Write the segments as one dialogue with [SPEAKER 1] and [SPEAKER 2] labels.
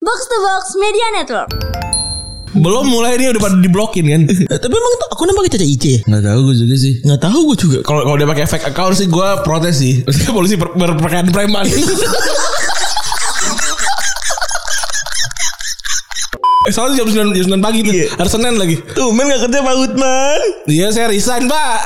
[SPEAKER 1] Box to Box Media Network.
[SPEAKER 2] Belum mulai dia udah pada diblokin kan.
[SPEAKER 3] Eh, Tapi emang tuh aku nama Caca IC ya?
[SPEAKER 2] Enggak tahu gue juga sih.
[SPEAKER 3] Nggak tahu gue juga.
[SPEAKER 2] Kalau kalau dia pakai fake account sih gue protes sih. Maksudnya polisi ber berpakaian preman. eh, soalnya jam 9, jam 9 pagi tuh. Harus Senin lagi.
[SPEAKER 3] Iya. Tuh men gak kerja Pak Gutman
[SPEAKER 2] Iya saya resign pak.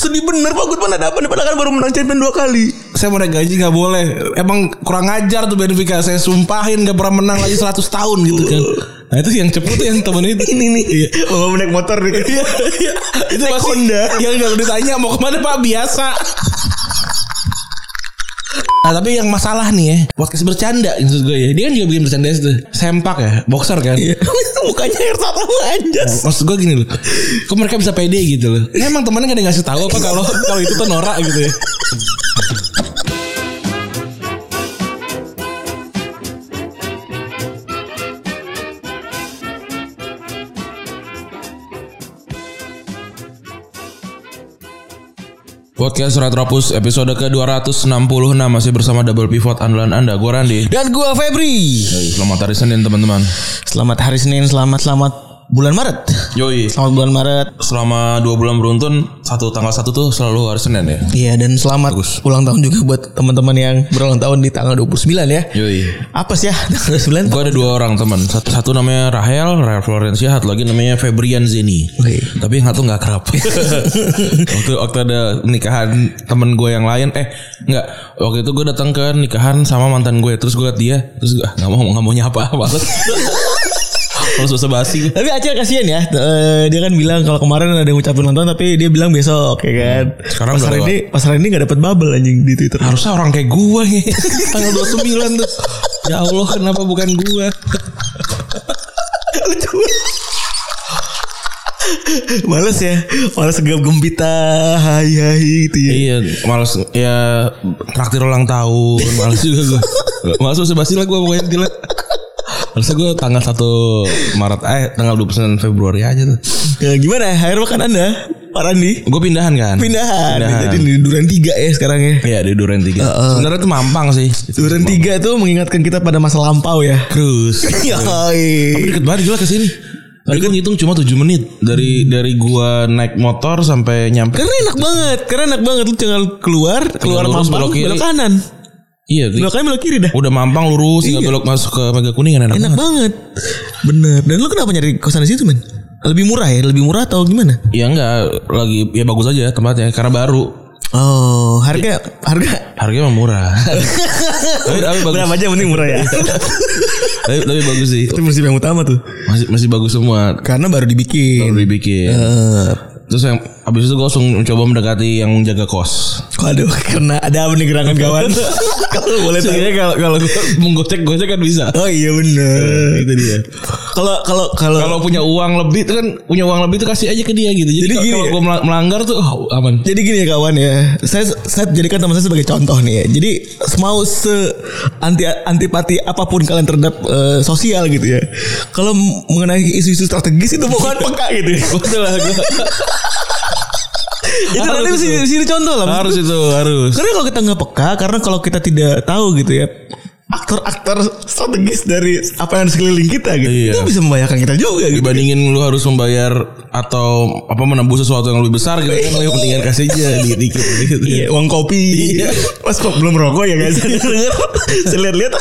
[SPEAKER 3] Sedih bener Pak Gutman ada apa nih Padahal kan baru menang champion dua kali
[SPEAKER 2] Saya mau naik gaji nggak boleh. Emang kurang ajar tuh Benfica. Saya sumpahin gak pernah menang lagi 100 tahun gitu kan. Nah itu yang cepu tuh yang temen itu.
[SPEAKER 3] Ini nih Bawa naik motor nih
[SPEAKER 2] Iya, iya. itu
[SPEAKER 3] Naik
[SPEAKER 2] pasti
[SPEAKER 3] Honda.
[SPEAKER 2] yang nggak ditanya mau kemana pak biasa. Nah tapi yang masalah nih ya Podcast bercanda maksud gue ya Dia kan juga bikin bercanda itu Sempak ya Boxer kan
[SPEAKER 3] Iya. Mukanya air sama anjas
[SPEAKER 2] Maksud gue gini loh Kok mereka bisa pede gitu loh Ya emang temennya gak ada yang ngasih tahu apa kalau kalau itu tuh norak gitu ya Podcast Surat Ropus episode ke-266 Masih bersama Double Pivot andalan Anda Gue Randi
[SPEAKER 3] Dan gua Febri
[SPEAKER 2] Yoi, Selamat hari Senin teman-teman
[SPEAKER 3] Selamat hari Senin Selamat selamat bulan Maret
[SPEAKER 2] Yoi
[SPEAKER 3] Selamat bulan Maret
[SPEAKER 2] Selama dua bulan beruntun Satu tanggal satu tuh selalu hari Senin ya
[SPEAKER 3] Iya dan selamat ulang tahun juga buat teman-teman yang berulang tahun di tanggal 29 ya
[SPEAKER 2] Yoi
[SPEAKER 3] Apa sih ya tanggal 29
[SPEAKER 2] Gue ada dua orang teman. Satu, satu namanya Rahel, Rahel Florencia, satu lagi namanya Febrian Zeni.
[SPEAKER 3] Wih.
[SPEAKER 2] Tapi yang satu nggak kerap. waktu, waktu ada nikahan temen gue yang lain, eh nggak. Waktu itu gue datang ke nikahan sama mantan gue, terus gue liat dia, terus gue ah, nggak mau nggak mau nyapa, males. Males bahasa basi.
[SPEAKER 3] Tapi Acel kasihan ya eh, Dia kan bilang kalau kemarin ada yang ngucapin ulang tahun Tapi dia bilang besok ya kan
[SPEAKER 2] Sekarang
[SPEAKER 3] Pas
[SPEAKER 2] udah
[SPEAKER 3] hari
[SPEAKER 2] lewat.
[SPEAKER 3] ini Pas hari ini gak dapet bubble anjing di Twitter
[SPEAKER 2] Harusnya orang kayak gue ya. Tanggal 29 tuh. Ya Allah kenapa bukan gue?
[SPEAKER 3] Males ya Males gegap gembita Hai hai gitu ya
[SPEAKER 2] Iya, males ya traktir ulang tahun, males juga gue. Males bahasa basi lah gue pokoknya gila. Harusnya gue tanggal 1 Maret eh tanggal 29 Februari aja tuh.
[SPEAKER 3] Ya, Gimana akhir makan anda Pak Randi
[SPEAKER 2] Gue pindahan kan?
[SPEAKER 3] Pindahan, Jadi di Duren 3 ya sekarang ya
[SPEAKER 2] Iya di Duren 3. Sebenarnya tuh mampang sih.
[SPEAKER 3] Duren 3 tuh mengingatkan kita pada masa lampau ya
[SPEAKER 2] Cruise. Tapi
[SPEAKER 3] Yoi
[SPEAKER 2] deket banget gila ke sini. Tadi kan ngitung cuma 7 menit dari dari gua naik motor sampai nyampe.
[SPEAKER 3] Karena enak banget Karena enak banget Lu jangan keluar Keluar
[SPEAKER 2] lurus,
[SPEAKER 3] mampang
[SPEAKER 2] belok kiri.
[SPEAKER 3] Belok kanan
[SPEAKER 2] Iya, gitu.
[SPEAKER 3] Belok kanan belok kiri dah
[SPEAKER 2] udah mampang lurus tinggal belok masuk ke Mega Kuningan enak,
[SPEAKER 3] Iya. Enak
[SPEAKER 2] banget.
[SPEAKER 3] banget Bener Dan lu kenapa nyari kosan di situ men? Lebih murah ya? Lebih murah atau gimana?
[SPEAKER 2] Ya enggak lagi ya bagus aja tempatnya karena baru.
[SPEAKER 3] Oh harga Harga
[SPEAKER 2] Harganya mah murah. tapi, tapi bagus.
[SPEAKER 3] Berapa aja yang penting murah ya Itu
[SPEAKER 2] Tapi, tapi bagus sih.
[SPEAKER 3] musibah yang utama tuh
[SPEAKER 2] Masih masih bagus semua.
[SPEAKER 3] Karena baru
[SPEAKER 2] Baru
[SPEAKER 3] dibikin
[SPEAKER 2] dibikin.
[SPEAKER 3] Eh,
[SPEAKER 2] Terus yang abis itu gue langsung mencoba mendekati yang jaga kos.
[SPEAKER 3] Waduh, karena ada apa nih gerangan kawan? Kalau boleh tahu.
[SPEAKER 2] kalau kalau menggocek gocek kan bisa.
[SPEAKER 3] Oh iya bener.
[SPEAKER 2] Itu dia.
[SPEAKER 3] Kalau kalau kalau
[SPEAKER 2] Kalau punya uang lebih tuh kan punya uang lebih tuh kasih aja ke dia gitu. Jadi,
[SPEAKER 3] Jadi
[SPEAKER 2] kalau-
[SPEAKER 3] gini
[SPEAKER 2] kalau
[SPEAKER 3] ya?
[SPEAKER 2] gue melanggar tuh oh, aman.
[SPEAKER 3] jadi gini ya kawan ya. Saya saya jadikan teman saya sebagai contoh nih ya. Jadi mau se anti antipati apapun kalian terhadap eh, sosial gitu ya. Kalau m- mengenai isu-isu strategis itu bukan peka gitu.
[SPEAKER 2] Betul lah gua.
[SPEAKER 3] Itu
[SPEAKER 2] Harus
[SPEAKER 3] nanti mesti
[SPEAKER 2] itu.
[SPEAKER 3] mesti dicontoh lah.
[SPEAKER 2] harus itu harus.
[SPEAKER 3] Karena kalau kita nggak peka, karena kalau kita tidak tahu gitu ya, aktor-aktor strategis dari apa yang ada di sekeliling kita gitu,
[SPEAKER 2] Iya.
[SPEAKER 3] itu bisa membahayakan kita juga gitu.
[SPEAKER 2] Dibandingin lu harus membayar atau apa menembus sesuatu yang lebih besar gitu kan lebih mendingan kasih aja dikit-dikit. gitu. dikit.
[SPEAKER 3] Iya, uang kopi.
[SPEAKER 2] Iya.
[SPEAKER 3] Mas kok belum rokok ya guys? Saya denger, saya lihat-lihat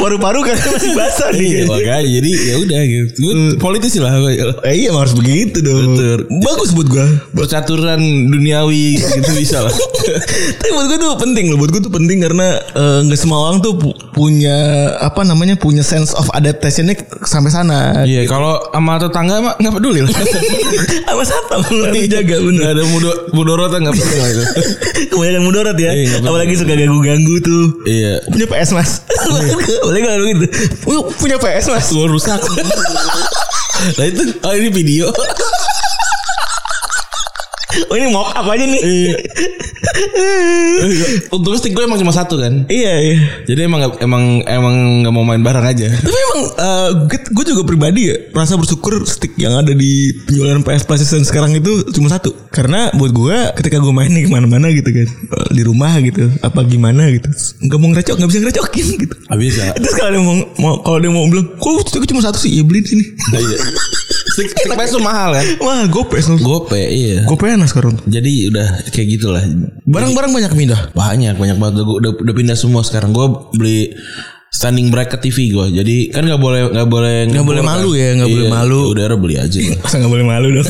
[SPEAKER 3] paru-paru kan masih basah
[SPEAKER 2] Iya
[SPEAKER 3] nih.
[SPEAKER 2] makanya jadi ya udah gitu. Gue
[SPEAKER 3] Hmm.
[SPEAKER 2] politis lah. gua. ya.
[SPEAKER 3] Eh, iya emang harus begitu dong.
[SPEAKER 2] Betul.
[SPEAKER 3] Bagus buat gua.
[SPEAKER 2] Percaturan duniawi gitu bisa lah.
[SPEAKER 3] Tapi buat gua tuh penting loh. Buat gua tuh penting karena eh, nggak semua orang tuh pu- punya apa namanya punya sense of adaptationnya sampai sana.
[SPEAKER 2] Iya kalau sama tetangga mah nggak peduli lah.
[SPEAKER 3] Apa satpam harus jaga bener.
[SPEAKER 2] Nggak ada mudo mudorota nggak peduli lah itu.
[SPEAKER 3] Kebanyakan mudarat ya.
[SPEAKER 2] Iya, nggak apa-apa.
[SPEAKER 3] Apalagi suka ganggu-ganggu tuh.
[SPEAKER 2] Iya.
[SPEAKER 3] Punya PS mas. Boleh nggak lu gitu? Punya- Punya PS mas.
[SPEAKER 2] Gue rusak. Nah itu oh ini video. Iya.
[SPEAKER 3] Oh ini mock up aja nih.
[SPEAKER 2] Untungnya stick gue emang cuma satu kan.
[SPEAKER 3] iya iya.
[SPEAKER 2] Jadi emang gak, emang emang nggak mau main bareng aja.
[SPEAKER 3] Tapi emang eh, gue, gue juga pribadi ya merasa bersyukur stick yang ada di penjualan PS PlayStation sekarang itu cuma satu. Karena buat gue ketika gue main nih kemana-mana gitu kan eh, di rumah gitu apa gimana gitu nggak mau ngerecok nggak bisa ngerecokin gitu.
[SPEAKER 2] Habis ya.
[SPEAKER 3] Terus kalau dia mau, mau kalau dia mau bilang, kok stick cuma satu sih? Ya beli di sini.
[SPEAKER 2] Stick stick PS tuh mahal kan.
[SPEAKER 3] Wah, gope.
[SPEAKER 2] Gope iya.
[SPEAKER 3] Gope enak sekarang. tuh.
[SPEAKER 2] Jadi udah kayak gitulah.
[SPEAKER 3] Barang-barang banyak pindah.
[SPEAKER 2] Banyak banyak banget gue udah, udah pindah semua sekarang. Gue beli standing bracket TV gue. Jadi kan nggak boleh nggak boleh nggak
[SPEAKER 3] boleh malu ya, nggak boleh malu.
[SPEAKER 2] Udah beli aja.
[SPEAKER 3] Masa gak boleh malu dong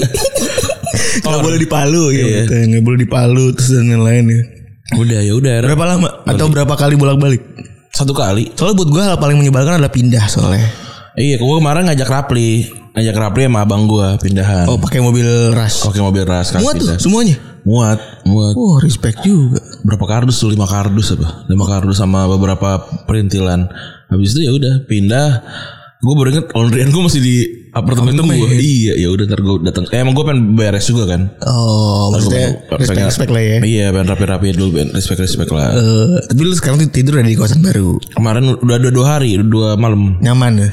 [SPEAKER 3] Gak boleh dipalu ya
[SPEAKER 2] Iya.
[SPEAKER 3] betul. Gak boleh dipalu Terus dan lain-lain ya
[SPEAKER 2] udah ya udah. Era.
[SPEAKER 3] Berapa lama Atau berapa kali bolak-balik
[SPEAKER 2] Satu kali.
[SPEAKER 3] Soalnya buat gue hal paling menyebalkan adalah pindah soalnya
[SPEAKER 2] Iya, gue kemarin ngajak Rapli, ngajak Rapli sama abang gue pindahan.
[SPEAKER 3] Oh pakai mobil rush
[SPEAKER 2] Oke mobil ras kan
[SPEAKER 3] Muat Oh, tuh
[SPEAKER 2] pindah.
[SPEAKER 3] semuanya
[SPEAKER 2] Muat, muat.
[SPEAKER 3] Wah respect juga
[SPEAKER 2] Berapa kardus tuh? Lima kardus apa? Lima kardus sama beberapa perintilan. Habis itu ya udah pindah. Gue baru inget laundryan gue masih di apartemen gue. Iya, ya udah ntar gue datang. Eh, emang gue pengen beres juga kan.
[SPEAKER 3] Oh maksudnya
[SPEAKER 2] Pengen-
[SPEAKER 3] respect, respect lah ya
[SPEAKER 2] Iya, pengen rapi-rapi dulu, pengen respect-respect lah.
[SPEAKER 3] Eh, Tapi lu sekarang tuh tidur ada di kawasan baru
[SPEAKER 2] Kemarin udah dua, dua hari, dua malam.
[SPEAKER 3] Nyaman ya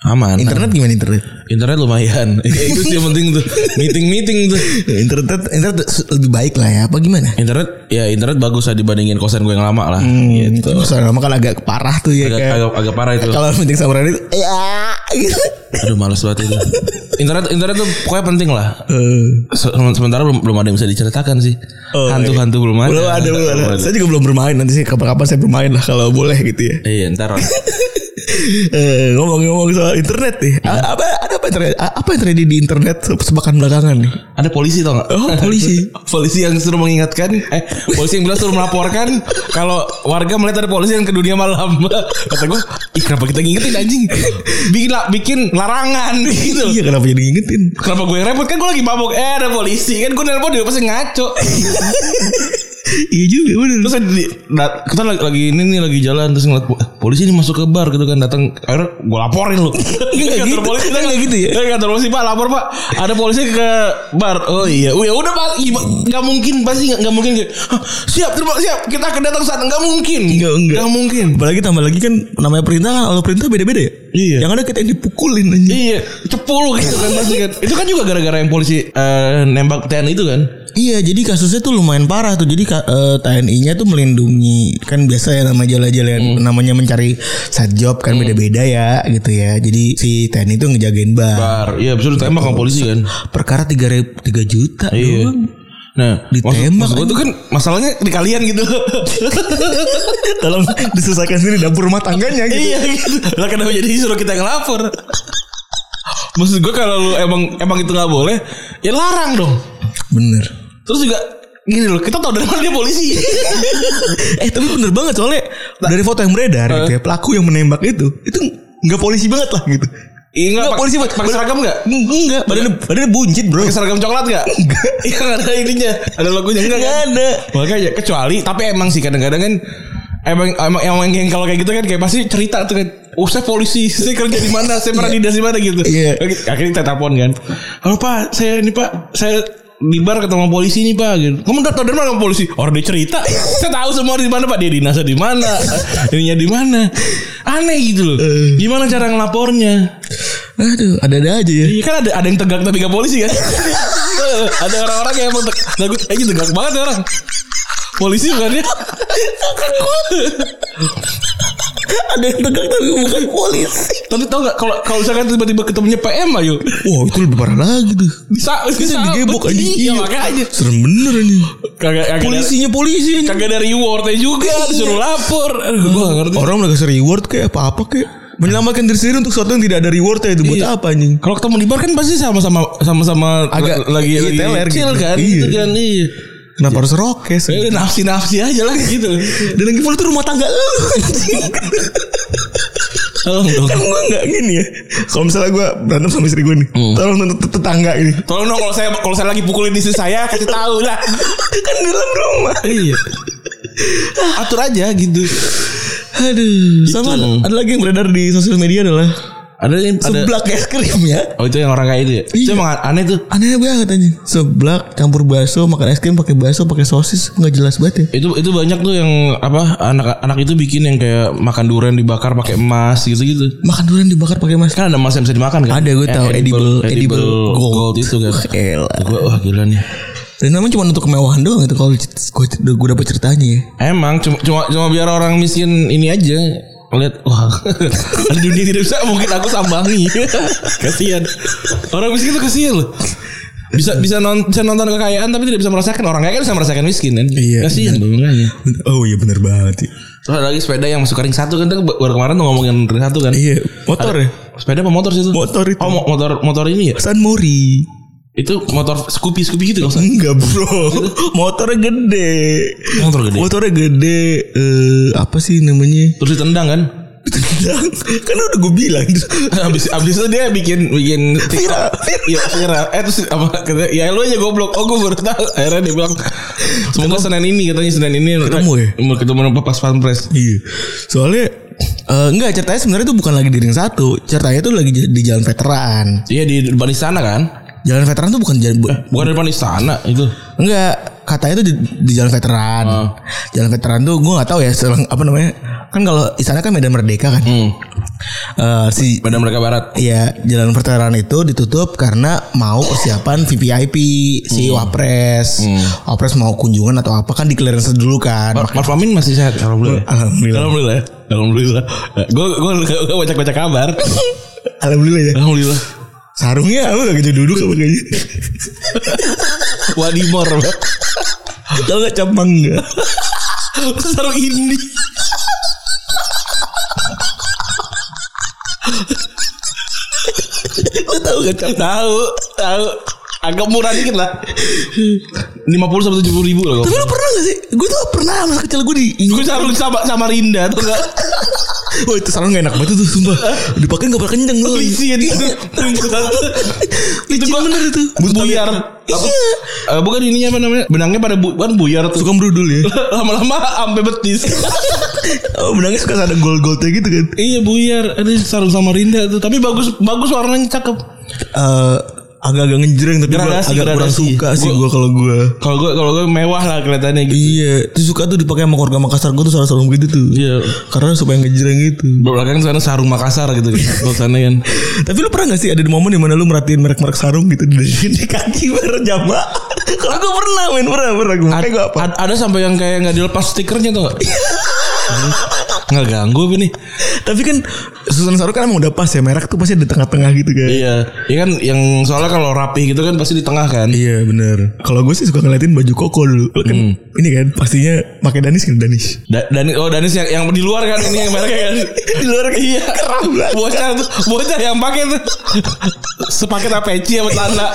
[SPEAKER 2] Aman.
[SPEAKER 3] Internet gimana internet
[SPEAKER 2] Internet lumayan. Ya, itu sih yang penting tuh. Meeting-meeting tuh.
[SPEAKER 3] Internet internet lebih baik lah ya Apa gimana
[SPEAKER 2] Internet ya internet bagus lah dibandingin kosan gue yang lama
[SPEAKER 3] Hmm.
[SPEAKER 2] lah. Gitu.
[SPEAKER 3] Soalnya lama kan agak parah tuh ya
[SPEAKER 2] Agak,
[SPEAKER 3] kayak-
[SPEAKER 2] agak, agak parah itu.
[SPEAKER 3] Kalau meeting sama Radit Ya gitu
[SPEAKER 2] Aduh males banget itu. Internet internet tuh pokoknya penting lah.
[SPEAKER 3] Eh,
[SPEAKER 2] Se- Sementara belum belum ada yang bisa diceritakan sih.
[SPEAKER 3] Oh,
[SPEAKER 2] Hantu-hantu belum ada.
[SPEAKER 3] belum ada, belum ada. Saya juga belum bermain nanti sih kapan-kapan saya bermain lah kalau boleh gitu ya.
[SPEAKER 2] Iya ntar lah.
[SPEAKER 3] Eh, Ngomong-ngomong soal internet nih, A- apa ada apa yang terjadi, a- apa yang terjadi di internet se- sebakan belakangan nih?
[SPEAKER 2] Ada polisi tau gak?
[SPEAKER 3] Oh, polisi.
[SPEAKER 2] polisi yang suruh mengingatkan Eh polisi yang bilang suruh melaporkan Kalau warga melihat ada polisi yang ke dunia malam Kata gue Ih kenapa kita ngingetin anjing Bikin, la- bikin larangan gitu
[SPEAKER 3] Iya kenapa jadi ngingetin?
[SPEAKER 2] Kenapa gue yang repot kan gue lagi mabok Eh ada polisi Kan gue nelpon dia pasti ngaco
[SPEAKER 3] iya juga bener.
[SPEAKER 2] Terus saya di- dat- kita lagi, lagi ini nih lagi jalan Terus ngeliat po- eh, polisi ini masuk ke bar gitu kan Datang akhirnya gue laporin lu Iya, Ini
[SPEAKER 3] Nggak gitu, nggak gitu ya?
[SPEAKER 2] Dari Iya, kantor polisi pak lapor pak Ada polisi ke bar Oh iya oh, ya udah pak Gima- Nggak mungkin pasti nggak nggak mungkin kayak, "Hah, Siap terima siap Kita akan datang saat Nggak mungkin
[SPEAKER 3] Nggak, nggak.
[SPEAKER 2] mungkin
[SPEAKER 3] Apalagi tambah lagi kan namanya perintah kan kalau perintah beda-beda ya.
[SPEAKER 2] Iya.
[SPEAKER 3] Yang ada kita yang dipukulin anjing.
[SPEAKER 2] Iya Cepul gitu kan pasti kan Itu kan juga gara-gara yang polisi eh, Nembak TNI itu kan
[SPEAKER 3] Iya, jadi kasusnya tuh lumayan parah tuh. Jadi ka- eh, TNI-nya tuh melindungi kan biasa ya nama jalan-jalan namanya mencari side job kan beda-beda ya gitu ya. Jadi si TNI tuh ngejagain bar.
[SPEAKER 2] Bar Iya abis itu ditembak sama polisi kan
[SPEAKER 3] Perkara 3 3 juta
[SPEAKER 2] Iya.
[SPEAKER 3] doang.
[SPEAKER 2] Nah,
[SPEAKER 3] Ditembak
[SPEAKER 2] maksud, maksud gue tuh kan masalahnya di kalian gitu.
[SPEAKER 3] Tolong diselesaikan sendiri dapur rumah tangganya gitu.
[SPEAKER 2] iya gitu. Lah kenapa jadi suruh kita ngelapor? maksud gue kalau lu emang emang itu nggak boleh, ya larang dong.
[SPEAKER 3] Bener.
[SPEAKER 2] Terus juga gini loh, kita tahu dari mana dia polisi.
[SPEAKER 3] Eh tapi bener banget soalnya dari foto yang beredar gitu ya pelaku yang menembak itu itu nggak polisi banget lah gitu.
[SPEAKER 2] Iya nggak polisi buat pakai seragam nggak?
[SPEAKER 3] Enggak,
[SPEAKER 2] Iya.
[SPEAKER 3] badannya badannya buncit bro.
[SPEAKER 2] Pakai seragam coklat nggak? Iya nggak ada ininya, ada logonya nggak
[SPEAKER 3] Nggak
[SPEAKER 2] kan?
[SPEAKER 3] ada.
[SPEAKER 2] Makanya kecuali tapi emang sih kadang-kadang kan emang emang emang yang kalau kayak gitu kan kayak pasti cerita tuh kan oh saya polisi saya kerja di mana saya pernah dinas di mana gitu
[SPEAKER 3] Iya.
[SPEAKER 2] Oke, akhirnya kita telepon kan halo pak saya ini pak saya di bar ketemu sama polisi nih pak gitu. kamu udah tau dari mana sama polisi orang dia cerita saya tahu semua di mana pak dia dinasnya di mana ininya di mana aneh gitu loh
[SPEAKER 3] Eh.
[SPEAKER 2] gimana cara ngelapornya
[SPEAKER 3] Aduh, ada-ada aja ya.
[SPEAKER 2] Iya kan ada ada yang tegak tapi gak polisi kan? Eh, ada orang-orang yang emang tegak, nah, gue- kayaknya tegak banget ya orang. Polisi ya? bukannya?
[SPEAKER 3] Ada yang tegak tapi bukan polisi.
[SPEAKER 2] Tapi tau gak kalau kalau misalkan tiba-tiba ketemunya PM ayo
[SPEAKER 3] Wah itu lebih parah lagi tuh.
[SPEAKER 2] bisa
[SPEAKER 3] Bisa digebok aja.
[SPEAKER 2] Iya makanya.
[SPEAKER 3] Serem bener nih.
[SPEAKER 2] Kagak Iya. kagak polisi
[SPEAKER 3] Polisinya polisi.
[SPEAKER 2] kagak ada rewardnya juga disuruh lapor. Aduh, gue gak ngerti.
[SPEAKER 3] Orang udah kasih reward kayak apa-apa kayak. Menyelamatkan diri sendiri untuk sesuatu yang tidak ada rewardnya itu buat
[SPEAKER 2] Iya.
[SPEAKER 3] apa anjing?
[SPEAKER 2] Kalau ketemu di bar kan pasti sama-sama sama-sama
[SPEAKER 3] Agak-
[SPEAKER 2] lagi
[SPEAKER 3] iya,
[SPEAKER 2] lagi
[SPEAKER 3] teler
[SPEAKER 2] kecil
[SPEAKER 3] gitu.
[SPEAKER 2] kan,
[SPEAKER 3] Iya.
[SPEAKER 2] gitu kan iya.
[SPEAKER 3] Kenapa harus rokes?
[SPEAKER 2] Ya udah nafsi-nafsi aja lah gitu.
[SPEAKER 3] Dan lagi pula itu rumah tangga lu anjing.
[SPEAKER 2] Tolong dong.
[SPEAKER 3] Kan gue gak gini ya Kalau misalnya gue berantem sama istri gue nih
[SPEAKER 2] Hmm.
[SPEAKER 3] Tolong nuntut tetangga ini
[SPEAKER 2] Tolong dong kalau saya kalau saya lagi pukulin istri saya kasih tahu lah.
[SPEAKER 3] Kan di dalam rumah
[SPEAKER 2] Iya. Atur aja gitu.
[SPEAKER 3] Aduh
[SPEAKER 2] Gitu.
[SPEAKER 3] Sama ada, ada lagi yang beredar di sosial media adalah
[SPEAKER 2] Ada yang ada
[SPEAKER 3] Seblak es krim ya.
[SPEAKER 2] Oh itu yang orang kayak itu ya. Itu
[SPEAKER 3] Iya.
[SPEAKER 2] emang aneh tuh.
[SPEAKER 3] Aneh banget anjing. Seblak campur bakso, makan es krim pakai bakso, pakai sosis, nggak jelas banget ya.
[SPEAKER 2] Itu itu banyak tuh yang apa anak-anak itu bikin yang kayak makan durian dibakar pakai emas gitu-gitu.
[SPEAKER 3] Makan durian dibakar pakai mas
[SPEAKER 2] Kan ada emas yang bisa dimakan kan?
[SPEAKER 3] Ada, gue
[SPEAKER 2] Eh,
[SPEAKER 3] tahu. Edible- edible
[SPEAKER 2] gold.
[SPEAKER 3] gold.
[SPEAKER 2] itu kan.
[SPEAKER 3] Wah, elah.
[SPEAKER 2] Gue wah gila nih.
[SPEAKER 3] Dan namanya cuma untuk kemewahan doang itu kalau gue gue dapet ceritanya ya.
[SPEAKER 2] Emang cuma cuma cuma biar orang miskin ini aja lihat wah ada dunia tidak bisa mungkin aku sambangi kasihan orang miskin tuh kasihan loh bisa bisa, non- bisa nonton kekayaan tapi tidak bisa merasakan orang kaya kan bisa merasakan miskin kan
[SPEAKER 3] Iya,
[SPEAKER 2] kasihan loh makanya.
[SPEAKER 3] Oh iya benar banget. Ya.
[SPEAKER 2] Terus ada lagi sepeda yang masuk ring satu kan Kita baru kemarin tuh ngomongin ring satu kan.
[SPEAKER 3] Iya, motor ya.
[SPEAKER 2] Sepeda apa motor sih itu?
[SPEAKER 3] Motor itu.
[SPEAKER 2] Oh, mo- motor motor ini ya.
[SPEAKER 3] San Mori.
[SPEAKER 2] Itu motor Scoopy Scoopy gitu kan.
[SPEAKER 3] Enggak bro Motornya gede
[SPEAKER 2] Motor gede.
[SPEAKER 3] Motornya gede eh, Apa sih namanya
[SPEAKER 2] Terus ditendang kan.
[SPEAKER 3] Kan udah gue bilang
[SPEAKER 2] Habis habis itu dia bikin bikin
[SPEAKER 3] Viral
[SPEAKER 2] Iya, viral. Eh terus apa katanya, ya lu aja goblok. Oh, gue baru tahu. Akhirnya dia bilang semoga Senin ini katanya Senin ini
[SPEAKER 3] Ketemu ya?
[SPEAKER 2] Mau ketemu sama pas pampres.
[SPEAKER 3] Iya Soalnya eh, Enggak ceritanya sebenarnya tuh bukan lagi di ring satu Ceritanya tuh lagi j- di jalan veteran
[SPEAKER 2] Iya di depan istana kan?
[SPEAKER 3] Jalan veteran tuh bukan jalan bu-
[SPEAKER 2] Bukan di depan istana itu.
[SPEAKER 3] Enggak Katanya tuh di, di jalan veteran
[SPEAKER 2] Ah.
[SPEAKER 3] Jalan veteran tuh gue gak tahu ya selang- Apa namanya Kan kalau istana kan Medan Merdeka kan
[SPEAKER 2] Hmm.
[SPEAKER 3] Eh, Si
[SPEAKER 2] Pada mereka barat.
[SPEAKER 3] Ya jalan veteran itu ditutup karena mau persiapan VVIP si Wapres. Wapres mau kunjungan atau apa kan di clearance dulu kan.
[SPEAKER 2] Mar- Maruf Amin masih sehat alhamdulillah.
[SPEAKER 3] Alhamdulillah.
[SPEAKER 2] Alhamdulillah. ya. Alhamdulillah. Eh, Gue gue gue baca-baca kabar.
[SPEAKER 3] Alhamdulillah ya.
[SPEAKER 2] Alhamdulillah.
[SPEAKER 3] Sarungnya apa gak gitu duduk apa kayaknya.
[SPEAKER 2] Wadimor. Bang.
[SPEAKER 3] Tau gak capang gak?
[SPEAKER 2] Sarung ini. Lo Oh, tahu kan? gak? Tahu, tahu. Agak murah dikit lah. 50 sampai 70 ribu lah.
[SPEAKER 3] Tapi lu pernah gak sih? Gue tuh pernah masa kecil gue di
[SPEAKER 2] Gue sarung sama sama Rinda tuh enggak
[SPEAKER 3] Wah itu sarung gak enak banget tuh sumpah Dipakai gak pernah kenceng lu
[SPEAKER 2] licin itu.
[SPEAKER 3] Licin bener itu
[SPEAKER 2] Buyar. Apa?
[SPEAKER 3] Iya
[SPEAKER 2] Eh, bukan ininya apa namanya? Benangnya pada bu kan buyar tuh.
[SPEAKER 3] Suka merudul ya
[SPEAKER 2] Lama-lama sampai betis.
[SPEAKER 3] Oh benangnya suka ada gold-goldnya gitu kan
[SPEAKER 2] iya buyar. Ada sarung sama Rinda tuh. Tapi bagus bagus warnanya cakep.
[SPEAKER 3] Eh, agak-agak ngejreng tapi gua
[SPEAKER 2] Gradasi,
[SPEAKER 3] agak kurang
[SPEAKER 2] gradasi.
[SPEAKER 3] suka sih
[SPEAKER 2] Gua-
[SPEAKER 3] gue kalau gue
[SPEAKER 2] Kalau gue kalau gue mewah lah kelihatannya gitu.
[SPEAKER 3] iya tuh suka tuh dipakai sama keluarga Makassar gue tuh sarung-sarung begitu gitu tuh
[SPEAKER 2] Iya.
[SPEAKER 3] karena supaya ngejreng gitu
[SPEAKER 2] belakang sana sarung Makassar gitu kan. Kalau sana kan.
[SPEAKER 3] tapi lu pernah gak sih ada di momen dimana lu merhatiin merek-merek sarung gitu di, di kaki bareng jamaah kalau gue pernah main pernah pernah gue
[SPEAKER 2] Ad-
[SPEAKER 3] pakai gue apa
[SPEAKER 2] ad- ada sampai yang kayak nggak dilepas stikernya tuh nggak? Nggak ganggu apa nih?
[SPEAKER 3] tapi kan susun sarung kan emang udah pas ya merek tuh pasti di tengah-tengah gitu kan
[SPEAKER 2] Iya, iya kan yang soalnya kalau rapi gitu kan pasti di tengah kan.
[SPEAKER 3] Iya bener Kalau gue sih suka ngeliatin baju koko dulu Lu kan Ini kan pastinya pakai danis kan danis
[SPEAKER 2] Da- Dani, oh Danis yang, yang di luar kan ini yang mereka kan.
[SPEAKER 3] Di luar kan
[SPEAKER 2] Iya,
[SPEAKER 3] Keren banget.
[SPEAKER 2] bocah tuh, bocah yang pakai tuh sepaket apeci sama tanda.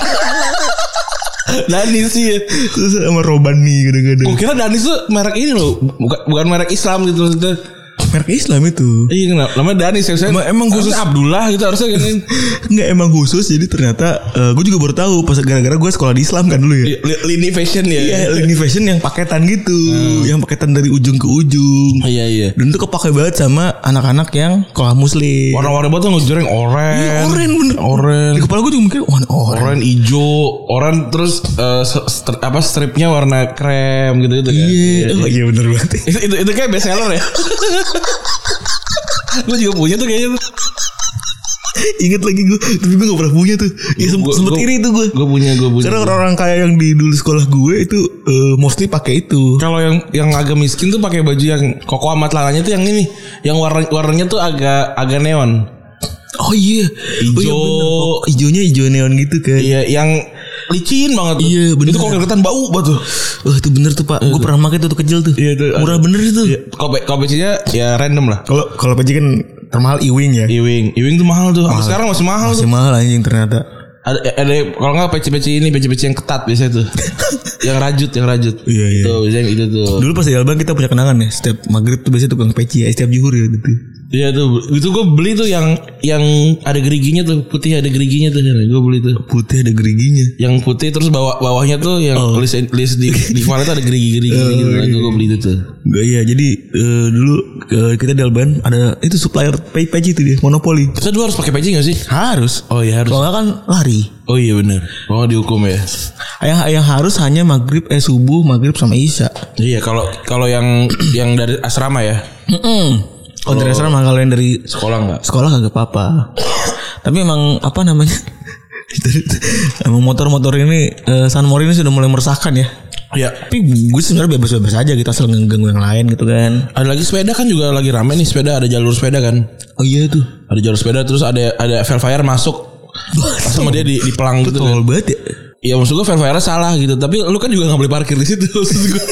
[SPEAKER 2] Danis sih.
[SPEAKER 3] Terus sama roban nih kadang-kadang
[SPEAKER 2] Gue kira Danis tuh merek ini loh, bukan, bukan merek Islam gitu maksudnya.
[SPEAKER 3] Merek Islam itu
[SPEAKER 2] Iya, kenapa? Namanya Danis ya.
[SPEAKER 3] Emang- emang khusus-
[SPEAKER 2] harusnya Abdullah gitu harusnya gini.
[SPEAKER 3] Nggak emang khusus Jadi ternyata Gue juga baru tahu Pas gara-gara gue sekolah di Islam kan dulu ya
[SPEAKER 2] Li- li- lini fashion ya.
[SPEAKER 3] Iya lini fashion yang paketan gitu Yang paketan dari ujung ke ujung
[SPEAKER 2] iya. iya.
[SPEAKER 3] Dan itu kepake banget sama Anak-anak yang Sekolah muslim
[SPEAKER 2] Warna-warni banget tuh ngejreng oren.
[SPEAKER 3] Iya, Oren bener
[SPEAKER 2] Oren.
[SPEAKER 3] Di kepala gue juga mikir Wah oren
[SPEAKER 2] Oren hijau, oren terus eh, se- stri- apa stripnya warna krem gitu-gitu kan.
[SPEAKER 3] Iya Oh iya bener banget
[SPEAKER 2] Itu, itu, itu kayak best seller ya. Gue juga punya tuh kayaknya tuh.
[SPEAKER 3] Ingat lagi gue Tapi gue gak pernah punya tuh Ya
[SPEAKER 2] Gua-
[SPEAKER 3] sempet, sempet
[SPEAKER 2] gua-
[SPEAKER 3] iri tuh gue
[SPEAKER 2] Gue punya, gue punya.
[SPEAKER 3] Karena orang-orang kaya yang di dulu sekolah gue itu eh, Mostly pakai itu
[SPEAKER 2] kalau yang yang agak miskin tuh pakai baju yang koko amat celananya tuh yang ini, yang warna warnanya tuh agak agak neon.
[SPEAKER 3] Oh iya
[SPEAKER 2] Ijo.
[SPEAKER 3] oh, iya bener. Ijonya ijo neon gitu kan
[SPEAKER 2] Iya, yang licin banget. tuh.
[SPEAKER 3] Iya, bener.
[SPEAKER 2] Itu kok keringetan bau banget tuh.
[SPEAKER 3] Wah itu bener tuh pak Gue pernah pakai tuh, tuh kecil tuh
[SPEAKER 2] Iya, tuh.
[SPEAKER 3] Murah bener itu
[SPEAKER 2] Kopi kopinya ya random lah.
[SPEAKER 3] Iya. Kalau kalau PJ kan termahal Iwing ya
[SPEAKER 2] Ewing, Ewing tuh mahal tuh. Sampai sekarang masih mahal
[SPEAKER 3] Masih
[SPEAKER 2] tuh.
[SPEAKER 3] mahal anjing ternyata
[SPEAKER 2] Ada, eh, ada kalau nggak peci-peci ini peci-peci yang ketat biasanya tuh. yang rajut, yang rajut.
[SPEAKER 3] Iya, iya.
[SPEAKER 2] Tuh, biasanya yang itu tuh.
[SPEAKER 3] Dulu pas di Alban kita punya kenangan ya Setiap maghrib tuh biasanya tukang peci ya Setiap juhur ya gitu
[SPEAKER 2] Iya tuh, itu gue beli tuh yang yang ada geriginya tuh putih ada geriginya tuh, gue beli tuh.
[SPEAKER 3] Putih ada geriginya.
[SPEAKER 2] yang putih terus bawah bawahnya tuh yang list list di di kepala tuh ada gerigi-gerigi gitu. Nah, itu gue beli itu tuh.
[SPEAKER 3] Gak iya, jadi eh, dulu eh, kita di Alban ada itu supplier pay pay itu dia, monopoli.
[SPEAKER 2] Kita dulu harus pakai peci gak sih?
[SPEAKER 3] Harus.
[SPEAKER 2] Oh iya harus.
[SPEAKER 3] Kalau nggak kan lari.
[SPEAKER 2] Oh iya benar. Kalau nggak dihukum ya.
[SPEAKER 3] Yang yang harus hanya maghrib eh subuh maghrib sama isya.
[SPEAKER 2] Iya kalau kalau yang yang dari asrama ya Oh.
[SPEAKER 3] Kalau dari asrama kalau yang dari
[SPEAKER 2] sekolah nggak?
[SPEAKER 3] sekolah kagak apa-apa. Tapi emang apa namanya? Itu- itu- emang motor-motor ini eh, San Mori ini sudah mulai meresahkan ya.
[SPEAKER 2] Iya.
[SPEAKER 3] Tapi gue sebenarnya bebas-bebas aja gitu asal ngeganggu yang lain gitu kan.
[SPEAKER 2] Ada lagi sepeda kan juga lagi rame nih sepeda ada jalur sepeda kan?
[SPEAKER 3] Oh iya tuh.
[SPEAKER 2] Ada jalur sepeda terus ada ada Velfire masuk sama dia di, di pelang gitu kan.
[SPEAKER 3] Tol banget ya.
[SPEAKER 2] Ya maksud gue Velfire salah gitu tapi lu kan juga nggak boleh parkir di situ maksud gue.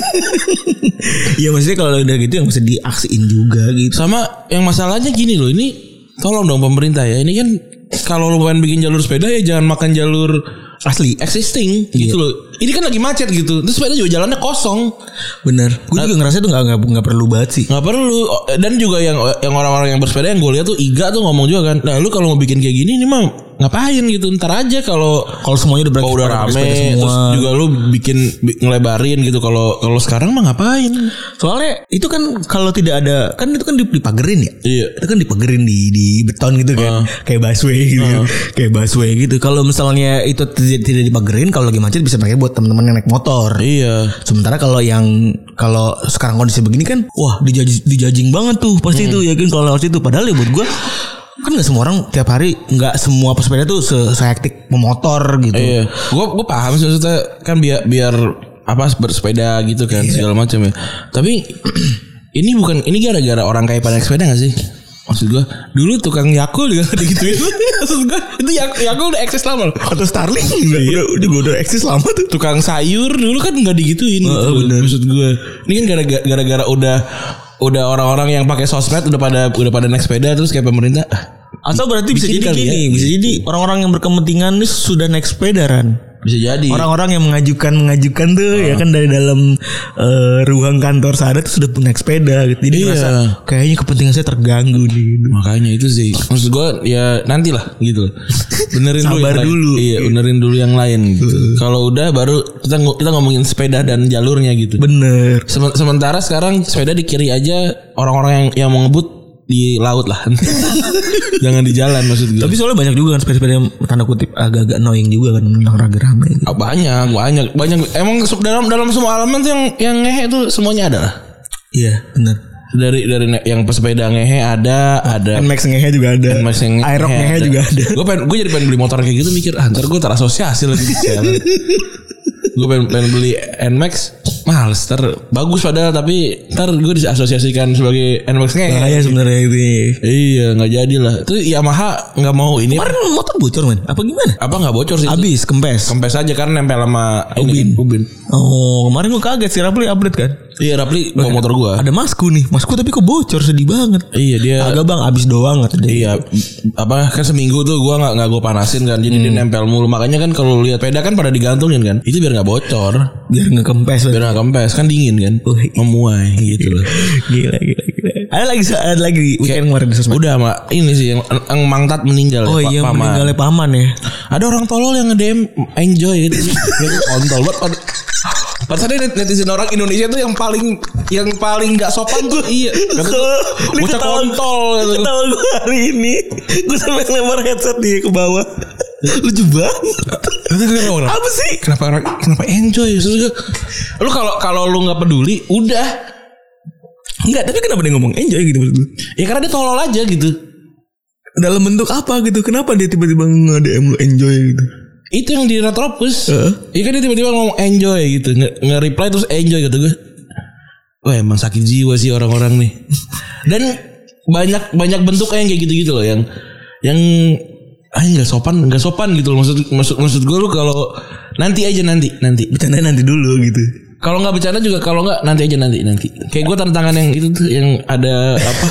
[SPEAKER 3] Iya maksudnya kalau udah gitu yang mesti diaksiin juga gitu.
[SPEAKER 2] Sama yang masalahnya gini loh, ini tolong dong pemerintah ya. Ini kan kalau lu pengen bikin jalur sepeda ya jangan makan jalur
[SPEAKER 3] Asli.
[SPEAKER 2] existing gitu loh. Ini kan lagi macet gitu. Terus sepeda juga jalannya kosong.
[SPEAKER 3] Bener. Gue juga ngerasa itu nggak nggak nggak perlu banget sih.
[SPEAKER 2] nggak perlu O- dan juga yang yang orang-orang yang bersepeda yang gue lihat tuh Iga tuh ngomong juga kan. Nah, lu kalau mau bikin kayak gini ini mah ngapain gitu. Ntar aja kalau
[SPEAKER 3] Kalau semuanya udah
[SPEAKER 2] kalau
[SPEAKER 3] beraktif
[SPEAKER 2] Oh, udah rame terus juga lu bikin bi- ngelebarin gitu kalau kalau sekarang mah ngapain?
[SPEAKER 3] Soalnya itu kan kalau tidak ada kan itu kan dip- dipagerin ya.
[SPEAKER 2] Iya.
[SPEAKER 3] Itu kan dipagerin di di beton gitu kan. Kayak busway gitu. kan. Kayak busway gitu. Kalau misalnya itu tidak, tidak dipagerin kalau lagi macet bisa pakai buat teman-teman yang naik motor.
[SPEAKER 2] Iya.
[SPEAKER 3] Sementara kalau yang kalau sekarang kondisi begini kan wah dijaji, dijajing banget tuh
[SPEAKER 2] Hmm.
[SPEAKER 3] pasti itu yakin kalau lewat situ padahal ya buat gua kan nggak semua orang tiap hari nggak semua pesepeda tuh se sehektik pemotor gitu.
[SPEAKER 2] Iya, gua gua paham sih maksudnya kan biar biar apa bersepeda gitu kan
[SPEAKER 3] Iya.
[SPEAKER 2] segala macam ya. Tapi ini bukan ini gara-gara orang kaya pada naik sepeda gak sih? Maksud gua dulu tukang Yakul juga ada gituin. Maksud gua itu Yakul, Yakul udah eksis lama loh. Iya.
[SPEAKER 3] Atau Starling juga udah, udah, udah eksis lama tuh.
[SPEAKER 2] Tukang sayur dulu kan nggak digituin gitu.
[SPEAKER 3] Heeh, bener.
[SPEAKER 2] Maksud gua ini kan gara-gara gara-gara udah udah orang-orang yang pakai sosmed udah pada udah pada naik sepeda terus kayak pemerintah ah,
[SPEAKER 3] Atau berarti bisa
[SPEAKER 2] Bikin
[SPEAKER 3] jadi
[SPEAKER 2] kali
[SPEAKER 3] gini,
[SPEAKER 2] ya.
[SPEAKER 3] bisa jadi orang-orang yang berkepentingan nih sudah naik sepedaran.
[SPEAKER 2] bisa jadi.
[SPEAKER 3] Orang-orang yang mengajukan mengajukan tuh
[SPEAKER 2] Ah.
[SPEAKER 3] ya kan dari dalam eh, ruang kantor sana tuh sudah naik sepeda gitu. Jadi
[SPEAKER 2] Iya.
[SPEAKER 3] merasa kayaknya kepentingan saya terganggu nih. gitu.
[SPEAKER 2] Makanya itu sih Maksud gue ya nantilah gitu Benerin dulu
[SPEAKER 3] Sabar
[SPEAKER 2] yang lain.
[SPEAKER 3] dulu.
[SPEAKER 2] Iya benerin dulu yang lain gitu Kalau udah baru kita, ngo- kita ngomongin sepeda dan jalurnya gitu
[SPEAKER 3] Bener.
[SPEAKER 2] Semen- Sementara sekarang sepeda di kiri aja Orang-orang yang, yang mau ngebut di laut lah Jangan di jalan maksud gue
[SPEAKER 3] Tapi soalnya banyak juga kan sepeda-sepeda yang tanda kutip agak-agak annoying juga kan yang rame rame. gitu.
[SPEAKER 2] Ah, banyak banyak banyak emang se- dalam dalam semua elemen tuh yang yang ngehe itu semuanya ada lah
[SPEAKER 3] Iya, bener.
[SPEAKER 2] dari dari ne- yang pesepeda ngehe ada ada
[SPEAKER 3] Nmax ngehe juga ada.
[SPEAKER 2] Mas yang
[SPEAKER 3] Aerox ngehe Eh, juga ada.
[SPEAKER 2] Gue eh, pengen gue jadi pengen beli motor kayak gitu mikir ah ntar gue terasosiasi lagi Gue pengen, pengen beli Nmax mahal ter bagus padahal tapi ntar gue diasosiasikan sebagai Nmax nya
[SPEAKER 3] Bahaya sebenarnya itu.
[SPEAKER 2] Iya nggak jadi lah. Itu Yamaha nggak mau ini
[SPEAKER 3] Kemarin kan motor bocor men. Apa gimana?
[SPEAKER 2] apa nggak bocor sih?
[SPEAKER 3] Abis kempes.
[SPEAKER 2] Kempes aja karena nempel sama ini, ubin.
[SPEAKER 3] Oh, kemarin gua kaget sih Rapli update kan.
[SPEAKER 2] Iya Rapli bawa motor gue.
[SPEAKER 3] Ada masku nih. Masku tapi kok bocor sedih banget.
[SPEAKER 2] Iya dia
[SPEAKER 3] Agak bang abis doang kata dia.
[SPEAKER 2] Iya, apa kan seminggu tuh gua nggak nggak gue panasin kan, jadi
[SPEAKER 3] Hmm.
[SPEAKER 2] dia nempel mulu. Makanya kan kalau lihat peda kan pada digantungin kan, itu biar nggak bocor.
[SPEAKER 3] Biar ngekempes.
[SPEAKER 2] Biar nggak kempes kan dingin kan
[SPEAKER 3] Wih.
[SPEAKER 2] Memuai gitu loh
[SPEAKER 3] Gila gila gila. Ada lagi ada lagi weekend kemarin di sosmed.
[SPEAKER 2] Udah mak Ini sih yang, yang Mangtat meninggal
[SPEAKER 3] Oh
[SPEAKER 2] ya, Pak-
[SPEAKER 3] iya
[SPEAKER 2] Paman.
[SPEAKER 3] meninggalnya paman ya.
[SPEAKER 2] Ada orang tolol yang nge-DM Enjoy gitu Dia tuh Kontol banget Pad- Padahal dia net- netizen orang Indonesia tuh yang paling yang paling nggak sopan tuh iya.
[SPEAKER 3] Kan
[SPEAKER 2] Kata tuh,
[SPEAKER 3] Ini
[SPEAKER 2] Bocah
[SPEAKER 3] ketawa-
[SPEAKER 2] kontol gitu.
[SPEAKER 3] Ketawa gue hari ini Gue sampai lempar headset dia ke bawah Lucu banget Apa sih?
[SPEAKER 2] Kenapa orang kenapa enjoy? Terus gue, Lu kalau kalau lu nggak peduli, udah.
[SPEAKER 3] Enggak tapi kenapa dia ngomong enjoy gitu maksud gue
[SPEAKER 2] Ya karena dia tolol aja gitu.
[SPEAKER 3] Dalam bentuk apa gitu Kenapa dia tiba-tiba nge-DM lu enjoy gitu
[SPEAKER 2] itu yang di Retropus
[SPEAKER 3] Heeh.
[SPEAKER 2] Iya kan dia tiba-tiba ngomong enjoy gitu Nge- Nge-reply terus enjoy gitu gue Wah emang sakit jiwa sih orang-orang nih Dan banyak banyak bentuknya yang kayak gitu-gitu loh Yang Yang Ah nggak sopan nggak sopan gitu loh maksud maksud maksud gue lu kalau nanti aja nanti nanti
[SPEAKER 3] Bercanda nanti dulu gitu
[SPEAKER 2] kalau nggak bercanda juga kalau nggak nanti aja nanti nanti kayak gue tantangan yang itu tuh yang ada apa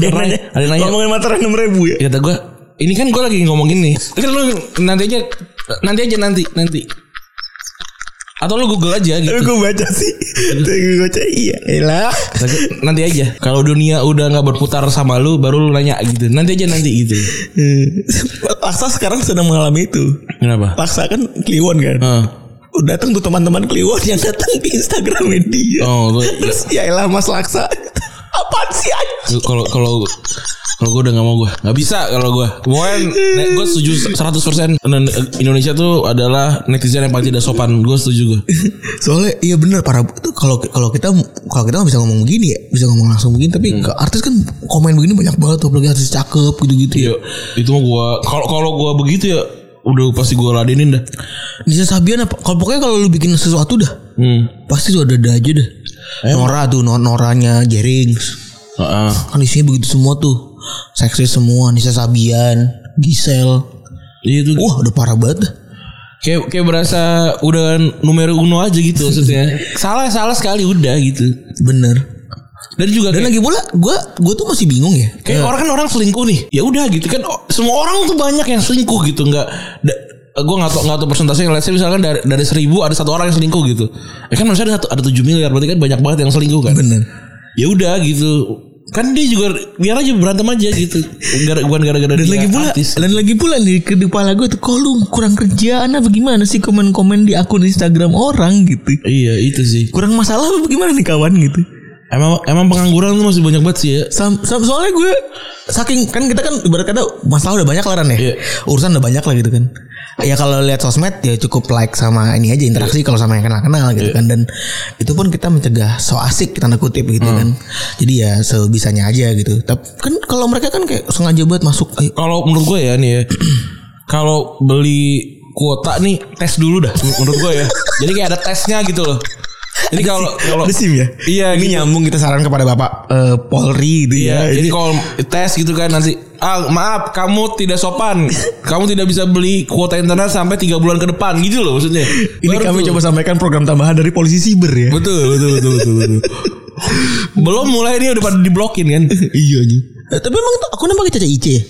[SPEAKER 3] Ada yang nanya
[SPEAKER 2] ada yang nanya
[SPEAKER 3] Ngomongin materai 6 ribu ya
[SPEAKER 2] Ya kata gue ini kan gue lagi ngomongin nih kan lu nanti aja nanti aja nanti nanti Atau lu Google aja
[SPEAKER 3] Tapi
[SPEAKER 2] gitu.
[SPEAKER 3] gue baca sih. Tapi gue baca iya. Elah.
[SPEAKER 2] Nanti aja. Kalau dunia udah nggak berputar sama lu, baru lu nanya gitu. Nanti aja nanti gitu.
[SPEAKER 3] Hmm. Laksa sekarang sedang mengalami itu.
[SPEAKER 2] Kenapa?
[SPEAKER 3] Laksa kan Kliwon kan.
[SPEAKER 2] Heeh.
[SPEAKER 3] Udah datang tuh teman-teman Kliwon yang datang di Instagram dia.
[SPEAKER 2] Oh, gue-
[SPEAKER 3] Terus ya elah Mas Laksa. Apaan sih anjing?
[SPEAKER 2] Lu- kalau kalau kalau gue udah nggak mau gue nggak bisa kalau gue kemarin gue setuju 100% Nen- Indonesia tuh adalah netizen yang paling tidak sopan gue setuju gue
[SPEAKER 3] Soalnya iya bener para tuh kalau kalau kita kalau kita nggak bisa ngomong begini ya, bisa ngomong langsung begini tapi ke artis kan komen begini banyak banget tuh apalagi artis cakep gitu-gitu ya.
[SPEAKER 2] Iya, itu mah gue kalau kalau gue begitu ya udah pasti gue ladenin dah
[SPEAKER 3] Nisa Sabian apa kalau pokoknya kalau lu bikin sesuatu dah
[SPEAKER 2] hmm.
[SPEAKER 3] pasti tuh ada ada aja dah. Nora tuh Nor- Noranya Jerings.
[SPEAKER 2] Heeh.
[SPEAKER 3] Kan isinya begitu semua tuh. Seksis semua Nisa Sabian, Gisel.
[SPEAKER 2] Iya itu
[SPEAKER 3] Wah, udah parah banget dah.
[SPEAKER 2] kayak kayak berasa udah numero uno aja gitu maksudnya salah salah sekali udah gitu
[SPEAKER 3] Bener.
[SPEAKER 2] dan juga kayak,
[SPEAKER 3] Dan lagi pula gua gua tuh masih bingung ya.
[SPEAKER 2] kayak orang kan orang selingkuh nih ya udah gitu kan o- semua orang tuh banyak yang selingkuh gitu nggak da- gue nggak tau nggak tau persentasenya let's say misalkan dari, dari seribu ada satu orang yang selingkuh gitu ya kan maksudnya ada, satu- ada tujuh miliar berarti kan banyak banget yang selingkuh kan
[SPEAKER 3] Bener.
[SPEAKER 2] ya udah gitu kan dia juga biar aja berantem aja gitu gara bukan gara-gara
[SPEAKER 3] Dan
[SPEAKER 2] dia
[SPEAKER 3] lagi pula
[SPEAKER 2] Iya, artis.
[SPEAKER 3] dan lagi pula di ke kepala gue tuh kok lu kurang kerjaan apa gimana sih komen-komen di akun Instagram orang gitu.
[SPEAKER 2] iya itu sih
[SPEAKER 3] Kurang masalah apa gimana nih kawan gitu.
[SPEAKER 2] emang emang pengangguran tuh masih banyak banget sih ya
[SPEAKER 3] Sam, sam- soalnya gue saking kan kita kan ibarat kata masalah udah banyak lah Ran, ya.
[SPEAKER 2] Iya.
[SPEAKER 3] Urusan udah banyak lah gitu kan. Ya kalau lihat sosmed ya cukup like sama ini aja
[SPEAKER 2] Iya.
[SPEAKER 3] interaksi kalau sama yang kenal-kenal gitu kan dan itu pun kita mencegah so asik tanda kutip gitu
[SPEAKER 2] Hmm.
[SPEAKER 3] kan. Jadi ya sebisanya aja gitu. Tapi kan kalau mereka kan kayak sengaja buat masuk ayo
[SPEAKER 2] kalau menurut gue ya nih ya kalau beli kuota nih tes dulu dah menurut gue ya jadi kayak ada tesnya gitu loh jadi kalau kalau
[SPEAKER 3] Ada SIM ya?
[SPEAKER 2] iya
[SPEAKER 3] ini
[SPEAKER 2] gitu.
[SPEAKER 3] nyambung kita saran kepada Bapak eh, Polri gitu
[SPEAKER 2] Iya,
[SPEAKER 3] ya.
[SPEAKER 2] jadi
[SPEAKER 3] Ini
[SPEAKER 2] kalau tes gitu kan nanti ah maaf kamu tidak sopan kamu tidak bisa beli kuota internet sampai tiga bulan ke depan gitu loh maksudnya
[SPEAKER 3] ini
[SPEAKER 2] Baru
[SPEAKER 3] kami
[SPEAKER 2] tuh.
[SPEAKER 3] coba sampaikan program tambahan dari polisi siber ya.
[SPEAKER 2] betul betul betul betul, betul. belum mulai ini udah pada diblokin kan
[SPEAKER 3] iya anjing. Eh, tapi emang tuh aku namanya Caca Ice ya?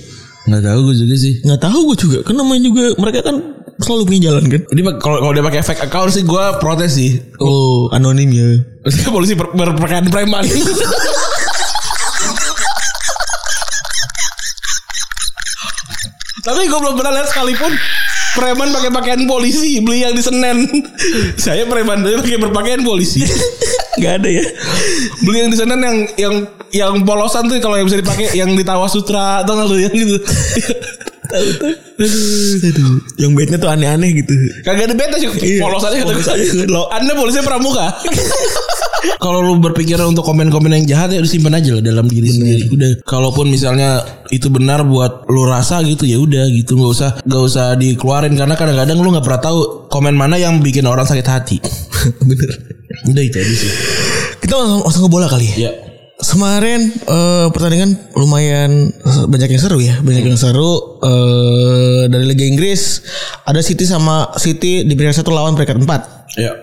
[SPEAKER 2] nggak tahu gue juga sih
[SPEAKER 3] Nggak tahu gue juga. Kan namanya juga mereka kan selalu punya jalan kan.
[SPEAKER 2] ini pak- kalau kalau dia pakai fake account sih gue protes sih
[SPEAKER 3] Oh, anonim ya.
[SPEAKER 2] Maksudnya polisi ber- berpakaian preman Tapi gue belum pernah lihat sekalipun preman pakai pakaian polisi beli yang di Senen. Saya preman tapi pakai berpakaian polisi.
[SPEAKER 3] Gak ada ya.
[SPEAKER 2] Beli yang di Senen yang yang yang polosan tuh kalau yang bisa dipakai yang di Tawa Sutra atau nggak lu yang gitu.
[SPEAKER 3] Aduh, yang bednya tuh aneh-aneh gitu.
[SPEAKER 2] Kagak ada bete sih
[SPEAKER 3] Iya,
[SPEAKER 2] polosannya kata
[SPEAKER 3] polos aja.
[SPEAKER 2] gue. Anda polisi pramuka. Kalau lu berpikiran untuk komen-komen yang jahat ya udah simpen aja lah dalam diri sendiri. Udah. Kalaupun misalnya itu benar buat lu rasa gitu ya udah gitu nggak usah nggak usah dikeluarin karena kadang-kadang lu nggak pernah tahu komen mana yang bikin orang sakit hati.
[SPEAKER 3] Bener.
[SPEAKER 2] Udah itu aja sih.
[SPEAKER 3] Kita langsung, langsung ke bola kali ya.
[SPEAKER 2] Ya.
[SPEAKER 3] Kemarin eh, pertandingan lumayan eh, banyak yang seru ya, banyak yang seru eh dari Liga Inggris. Ada City sama City di peringkat satu lawan peringkat empat.
[SPEAKER 2] Ya.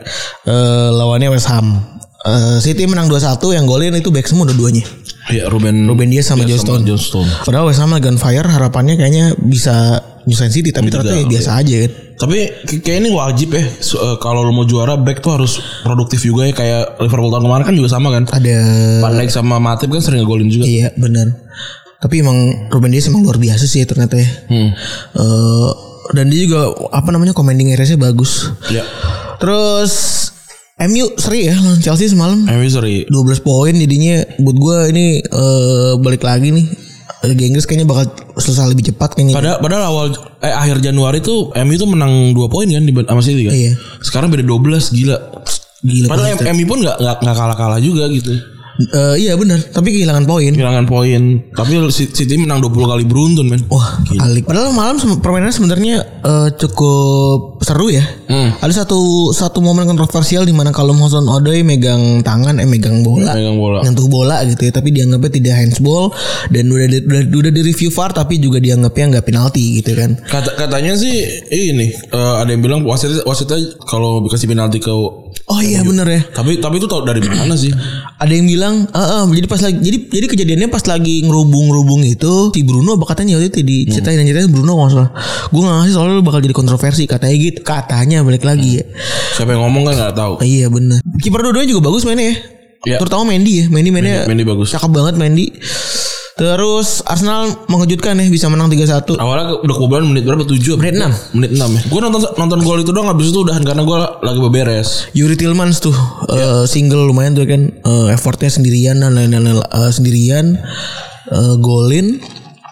[SPEAKER 3] Eh, lawannya West Ham. Eh, City menang 2-1 yang golin itu back semua dua-duanya.
[SPEAKER 2] Ya Ruben
[SPEAKER 3] Ruben Dias sama
[SPEAKER 2] ya,
[SPEAKER 3] Joe Stone.
[SPEAKER 2] Joe Stone.
[SPEAKER 3] Padahal West Ham lagi on fire harapannya kayaknya bisa nyusahin City tapi
[SPEAKER 2] Gitu
[SPEAKER 3] ternyata ya biasa aja kan.
[SPEAKER 2] Tapi kayak kayak ini wajib ya so- eh, kalau lu mau juara back tuh harus produktif juga ya kayak Liverpool tahun kemarin kan juga sama kan.
[SPEAKER 3] Ada
[SPEAKER 2] Van Dijk sama Matip kan sering ngegolin juga.
[SPEAKER 3] Hmm. iya benar. Tapi emang Ruben Dias emang luar biasa sih ternyata ya.
[SPEAKER 2] Hmm.
[SPEAKER 3] Eh, dan dia juga apa namanya commanding area-nya bagus.
[SPEAKER 2] Ya.
[SPEAKER 3] Terus MU seri ya lawan Chelsea semalam.
[SPEAKER 2] Anyway sorry.
[SPEAKER 3] 12 poin jadinya buat gue ini eh, balik lagi nih. Liga Inggris kayaknya bakal selesai lebih cepat kayaknya.
[SPEAKER 2] Padahal, padahal awal eh akhir Januari tuh MU tuh menang 2 poin kan di sama City kan.
[SPEAKER 3] Iya.
[SPEAKER 2] Sekarang beda 12 gila.
[SPEAKER 3] Gila.
[SPEAKER 2] Padahal M- MU pun nggak nggak nggak kalah-kalah juga gitu.
[SPEAKER 3] Eh, iya benar, tapi kehilangan poin.
[SPEAKER 2] Kehilangan poin. Tapi City menang 20 kali beruntun men.
[SPEAKER 3] Wah, alik. Padahal malam sem- permainannya sebenarnya eh, cukup seru ya.
[SPEAKER 2] Hmm.
[SPEAKER 3] Ada satu satu momen kontroversial di mana kalau Hudson Odoi megang tangan eh megang bola.
[SPEAKER 2] Megang bola.
[SPEAKER 3] Nyentuh bola gitu ya, tapi dianggapnya tidak handsball dan udah di, udah, udah di review VAR tapi juga dianggapnya nggak penalti gitu kan.
[SPEAKER 2] Kata, katanya sih ini eh, ada yang bilang wasitnya wasitnya kalau dikasih penalti ke
[SPEAKER 3] Oh iya bener ya.
[SPEAKER 2] tapi tapi itu tau dari mana sih?
[SPEAKER 3] Ada yang bilang kadang eh, eh, jadi pas lagi jadi jadi kejadiannya pas lagi ngerubung-ngerubung itu si Bruno apa katanya waktu itu
[SPEAKER 2] Hmm.
[SPEAKER 3] diceritain dan ceritain Bruno nggak salah gue nggak ngasih soalnya lu bakal jadi kontroversi katanya gitu katanya balik lagi ya
[SPEAKER 2] Siapa yang ngomong kan nggak tahu.
[SPEAKER 3] Ah, iya bener kiper dua-duanya juga bagus mainnya ya
[SPEAKER 2] Iya.
[SPEAKER 3] terutama Mendy ya Mendy mainnya
[SPEAKER 2] Mendy- Mendy bagus.
[SPEAKER 3] cakep banget Mendy terus Arsenal mengejutkan ya bisa menang 3-1
[SPEAKER 2] Awalnya ke- udah kebobolan menit berapa? 7
[SPEAKER 3] Menit enam.
[SPEAKER 2] Menit 6 ya. Gue nonton nonton gol itu doang habis itu udahan karena gue lagi beberes.
[SPEAKER 3] Yuri Tillmans tuh eh, single lumayan tuh kan eh, effortnya sendirian dan lain-lain eh, sendirian eh, golin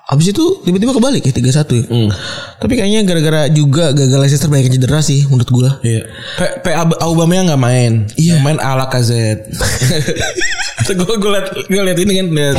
[SPEAKER 3] Habis itu tiba-tiba kebalik ya 3-1 ya. Tapi kayaknya gara-gara juga gagal Leicester banyak yang cedera sih menurut gua.
[SPEAKER 2] Iya. P, P Ab- Aubameyang nggak main.
[SPEAKER 3] Iya.
[SPEAKER 2] Yang Main ala KZ. gue gue liat gue liat ini kan liat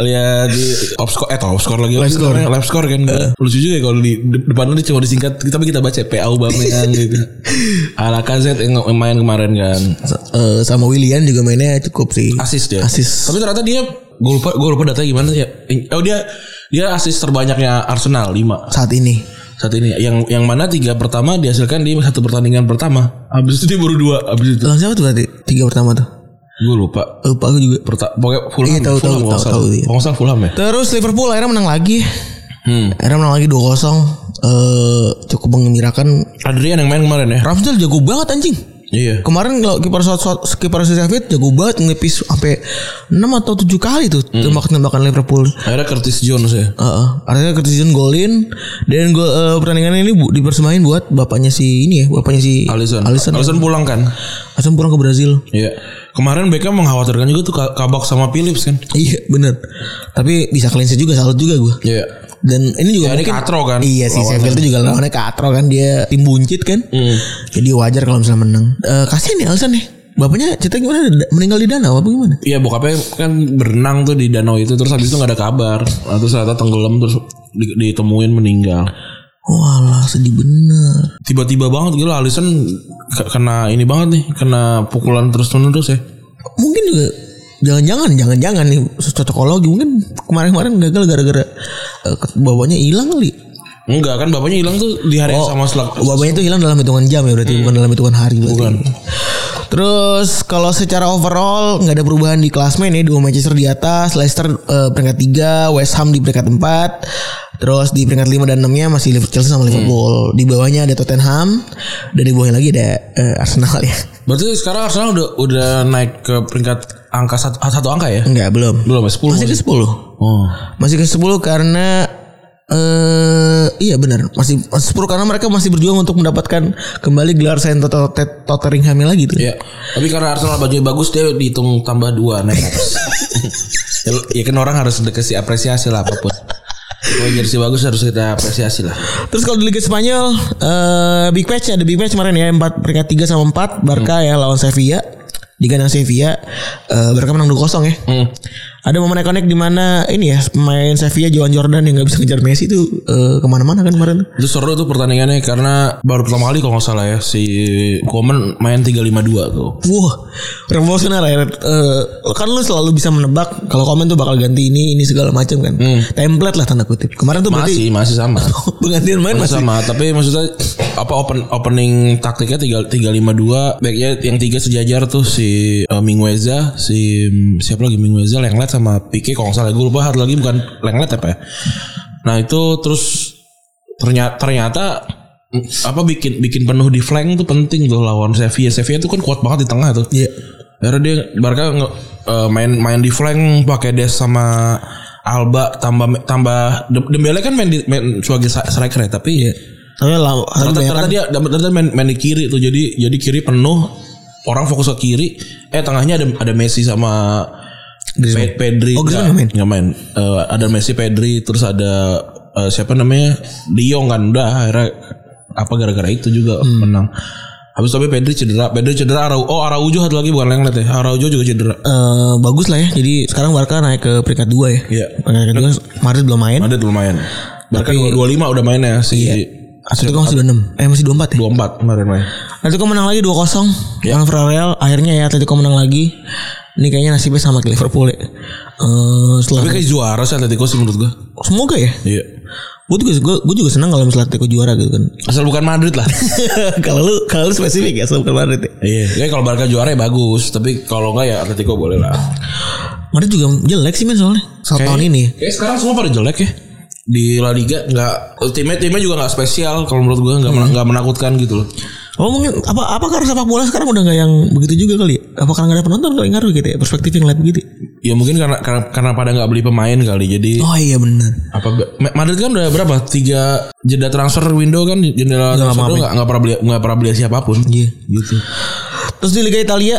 [SPEAKER 2] lihat di top score eh top score lagi live score live score kan lucu juga ya kalau di de- depan lu dia cuma disingkat tapi kita baca PA Aubameyang gitu ala KZ yang nge- main kemarin kan
[SPEAKER 3] Sa- eh, sama Willian juga mainnya cukup sih.
[SPEAKER 2] asis dia
[SPEAKER 3] Asis.
[SPEAKER 2] tapi ternyata dia gue lupa gue lupa datanya gimana ya oh dia dia asis terbanyaknya Arsenal 5
[SPEAKER 3] Saat ini.
[SPEAKER 2] saat ini yang yang mana tiga pertama dihasilkan di satu pertandingan pertama habis itu dia baru dua habis itu
[SPEAKER 3] Lawan siapa tuh berarti? Tiga pertama tuh. Eh,
[SPEAKER 2] gue lupa
[SPEAKER 3] Lupa aku juga.
[SPEAKER 2] Perta pokoknya Fulham.
[SPEAKER 3] Iya, tahu,
[SPEAKER 2] Fulham,
[SPEAKER 3] tahu,
[SPEAKER 2] kalau nggak
[SPEAKER 3] tahu,
[SPEAKER 2] salah.
[SPEAKER 3] tahu, iya.
[SPEAKER 2] Kalau nggak salah Fulham ya.
[SPEAKER 3] Terus Liverpool akhirnya menang lagi.
[SPEAKER 2] Hmm.
[SPEAKER 3] Akhirnya menang lagi 2-0. Eh, cukup mengembirakan.
[SPEAKER 2] Adrian yang main kemarin ya.
[SPEAKER 3] Ramsdale jago banget anjing.
[SPEAKER 2] Iya.
[SPEAKER 3] Kemarin kalau kiper shot shot kiper Sheffield jago banget ngelipis sampai 6 atau 7 kali tuh
[SPEAKER 2] Hmm.
[SPEAKER 3] tembakan-tembakan Liverpool.
[SPEAKER 2] Akhirnya Curtis Jones ya.
[SPEAKER 3] Heeh. artinya Christian golin dan gol eh, pertandingan ini bu, dipersemain buat bapaknya si ini ya, bapaknya si
[SPEAKER 2] Alisson.
[SPEAKER 3] Alisson. Alisson,
[SPEAKER 2] pulang kan?
[SPEAKER 3] pulang ke Brazil.
[SPEAKER 2] Iya. Kemarin Beckham mengkhawatirkan juga tuh Ka- Kabak sama Phillips kan.
[SPEAKER 3] Iya, bener Tapi bisa clean sheet juga salut juga gua.
[SPEAKER 2] Iya.
[SPEAKER 3] Dan ini juga
[SPEAKER 2] Ya, ini Katro Iya. kan?
[SPEAKER 3] Iya sih Sheffield itu juga lawannya Katro kan dia tim buncit kan.
[SPEAKER 2] Hmm.
[SPEAKER 3] Jadi wajar kalau misalnya menang. Eh kasihan nih Alisson nih. Bapaknya cerita gimana? Meninggal di danau apa gimana?
[SPEAKER 2] Iya bokapnya kan berenang tuh di danau itu terus habis itu nggak ada kabar. Nah, terus ternyata tenggelam terus di- ditemuin meninggal.
[SPEAKER 3] Walah sedih bener
[SPEAKER 2] Tiba-tiba banget gila Alisson ke- kena ini banget nih, kena pukulan terus menerus ya.
[SPEAKER 3] Mungkin juga Jangan-jangan Jangan-jangan nih Cocokologi mungkin Kemarin-kemarin gagal gara-gara eh, ke- Bawanya hilang kali
[SPEAKER 2] Enggak kan bapaknya hilang tuh di hari yang
[SPEAKER 3] Oh,
[SPEAKER 2] sama selak.
[SPEAKER 3] Bawanya itu hilang dalam hitungan jam ya Berarti bukan dalam hitungan hari berarti. Bukan Terus kalau secara overall nggak ada perubahan di klasmen ya dua Manchester di atas, Leicester eh, peringkat 3, West Ham di peringkat 4, terus di peringkat 5 dan 6-nya masih Liverpool Chelsea sama Liverpool. Di bawahnya ada Tottenham dan di bawahnya lagi ada eh, Arsenal ya.
[SPEAKER 2] Berarti sekarang Arsenal udah udah naik ke peringkat angka satu, satu angka ya?
[SPEAKER 3] Enggak, belum.
[SPEAKER 2] Belum ya? 10
[SPEAKER 3] Masih ke 10.
[SPEAKER 2] Oh.
[SPEAKER 3] Masih ke 10 karena eh iya benar, masih masih 10 karena mereka masih berjuang untuk mendapatkan kembali gelar Saint Tot- Tot- Tottenham lagi tuh.
[SPEAKER 2] Iya. Tapi karena Arsenal bajunya bagus dia dihitung tambah dua naik atas. ya, ya kan orang harus dikasih apresiasi lah apapun. Kalau jersey bagus harus kita apresiasi lah.
[SPEAKER 3] Terus kalau di Liga Spanyol eh big match ada big match kemarin ya 4 peringkat 3 sama 4 Barca ya lawan Sevilla di kandang Sevilla eh Barca menang 2-0 ya. Ada momen ikonik di mana ini ya pemain Sevilla Joan Jordan yang nggak bisa ngejar Messi itu eh, kemana-mana kan kemarin.
[SPEAKER 2] Itu seru tuh pertandingannya karena baru pertama kali kalau nggak salah ya si Komen main 352 tuh.
[SPEAKER 3] Wah, revolusioner ya. Eh, kan lu selalu bisa menebak kalau komen tuh bakal ganti ini, ini segala macam kan. Template lah tanda kutip. Kemarin tuh berarti
[SPEAKER 2] Masih masih sama.
[SPEAKER 3] penggantian main
[SPEAKER 2] Masih
[SPEAKER 3] masih.
[SPEAKER 2] sama, tapi maksudnya apa open opening taktiknya tiga tiga lima dua, backnya yang tiga sejajar tuh si eh, Mingueza, si siapa lagi Mingueza, Lenglet sama Pique kalau nggak salah gue lupa satu lagi bukan Lenglet apa ya. Nah itu terus ternyata ternyata mm, apa bikin bikin penuh di flank tuh penting tuh lawan Sevilla. Sevilla tuh kan kuat banget di tengah tuh.
[SPEAKER 3] Iya.
[SPEAKER 2] Akhirnya dia Barca nge- eh, main main di flank pakai Des sama Alba tambah tambah Dem- Dembele kan main di main sebagai sa- striker ya tapi
[SPEAKER 3] Tapi lama
[SPEAKER 2] ternyata,
[SPEAKER 3] tapi banyak
[SPEAKER 2] ternyata
[SPEAKER 3] kan.
[SPEAKER 2] dia ternyata main, main di kiri tuh jadi jadi kiri penuh orang fokus ke kiri eh tengahnya ada ada Messi sama Pe- Pedri
[SPEAKER 3] Oh,
[SPEAKER 2] Nggak-
[SPEAKER 3] Griezmann nggak main?
[SPEAKER 2] nggak main Eh, ada Messi Pedri terus ada eh, siapa namanya Dion kan udah akhirnya apa gara-gara itu juga
[SPEAKER 3] Hmm.
[SPEAKER 2] menang habis tapi Pedri cedera Pedri cedera Arau oh Araujo satu lagi bukan Lenglet ya Araujo juga cedera
[SPEAKER 3] Eh, bagus lah ya. Jadi sekarang Barca naik ke peringkat 2 ya.
[SPEAKER 2] Iya.
[SPEAKER 3] Peringkat 2 Madrid belum main.
[SPEAKER 2] Madrid lumayan Bahkan 25 udah mainnya si
[SPEAKER 3] Iya. Atletico masih 26. Eh masih 24 ya.
[SPEAKER 2] 24 kemarin main
[SPEAKER 3] Atletico menang lagi 2-0 lawan Villarreal. Akhirnya ya Atletico menang lagi. Ini kayaknya nasibnya sama kayak Liverpool ya. Eh, setelah
[SPEAKER 2] tapi kayak juara sih Atletico sih menurut gua
[SPEAKER 3] semoga ya.
[SPEAKER 2] iya
[SPEAKER 3] Gue juga gue, gue juga senang kalau misalnya Atletico juara gitu kan.
[SPEAKER 2] Asal bukan Madrid lah.
[SPEAKER 3] kalau lu kalau lu spesifik ya asal bukan Madrid. Ya.
[SPEAKER 2] Iya. kalau Barca juara ya bagus, tapi kalau enggak ya Atletico boleh lah.
[SPEAKER 3] Madrid juga jelek sih men soalnya. Satu tahun ini.
[SPEAKER 2] Kayak sekarang semua pada jelek ya di La Liga nggak timnya timnya juga nggak spesial kalau menurut gua nggak mena- nggak menakutkan gitu loh.
[SPEAKER 3] Oh mungkin apa apa karena sepak bola sekarang udah nggak yang begitu juga kali? ya? Apa karena nggak ada penonton kali ngaruh gitu ya perspektif yang lihat begitu?
[SPEAKER 2] Ya mungkin karena karena, karena pada nggak beli pemain kali jadi
[SPEAKER 3] Oh iya benar.
[SPEAKER 2] apa be- Ma- Madrid kan udah berapa tiga jeda transfer window kan jendela transfer window nggak nggak pernah beli nggak pernah beli siapapun
[SPEAKER 3] Iya.
[SPEAKER 2] gitu.
[SPEAKER 3] Terus di Liga Italia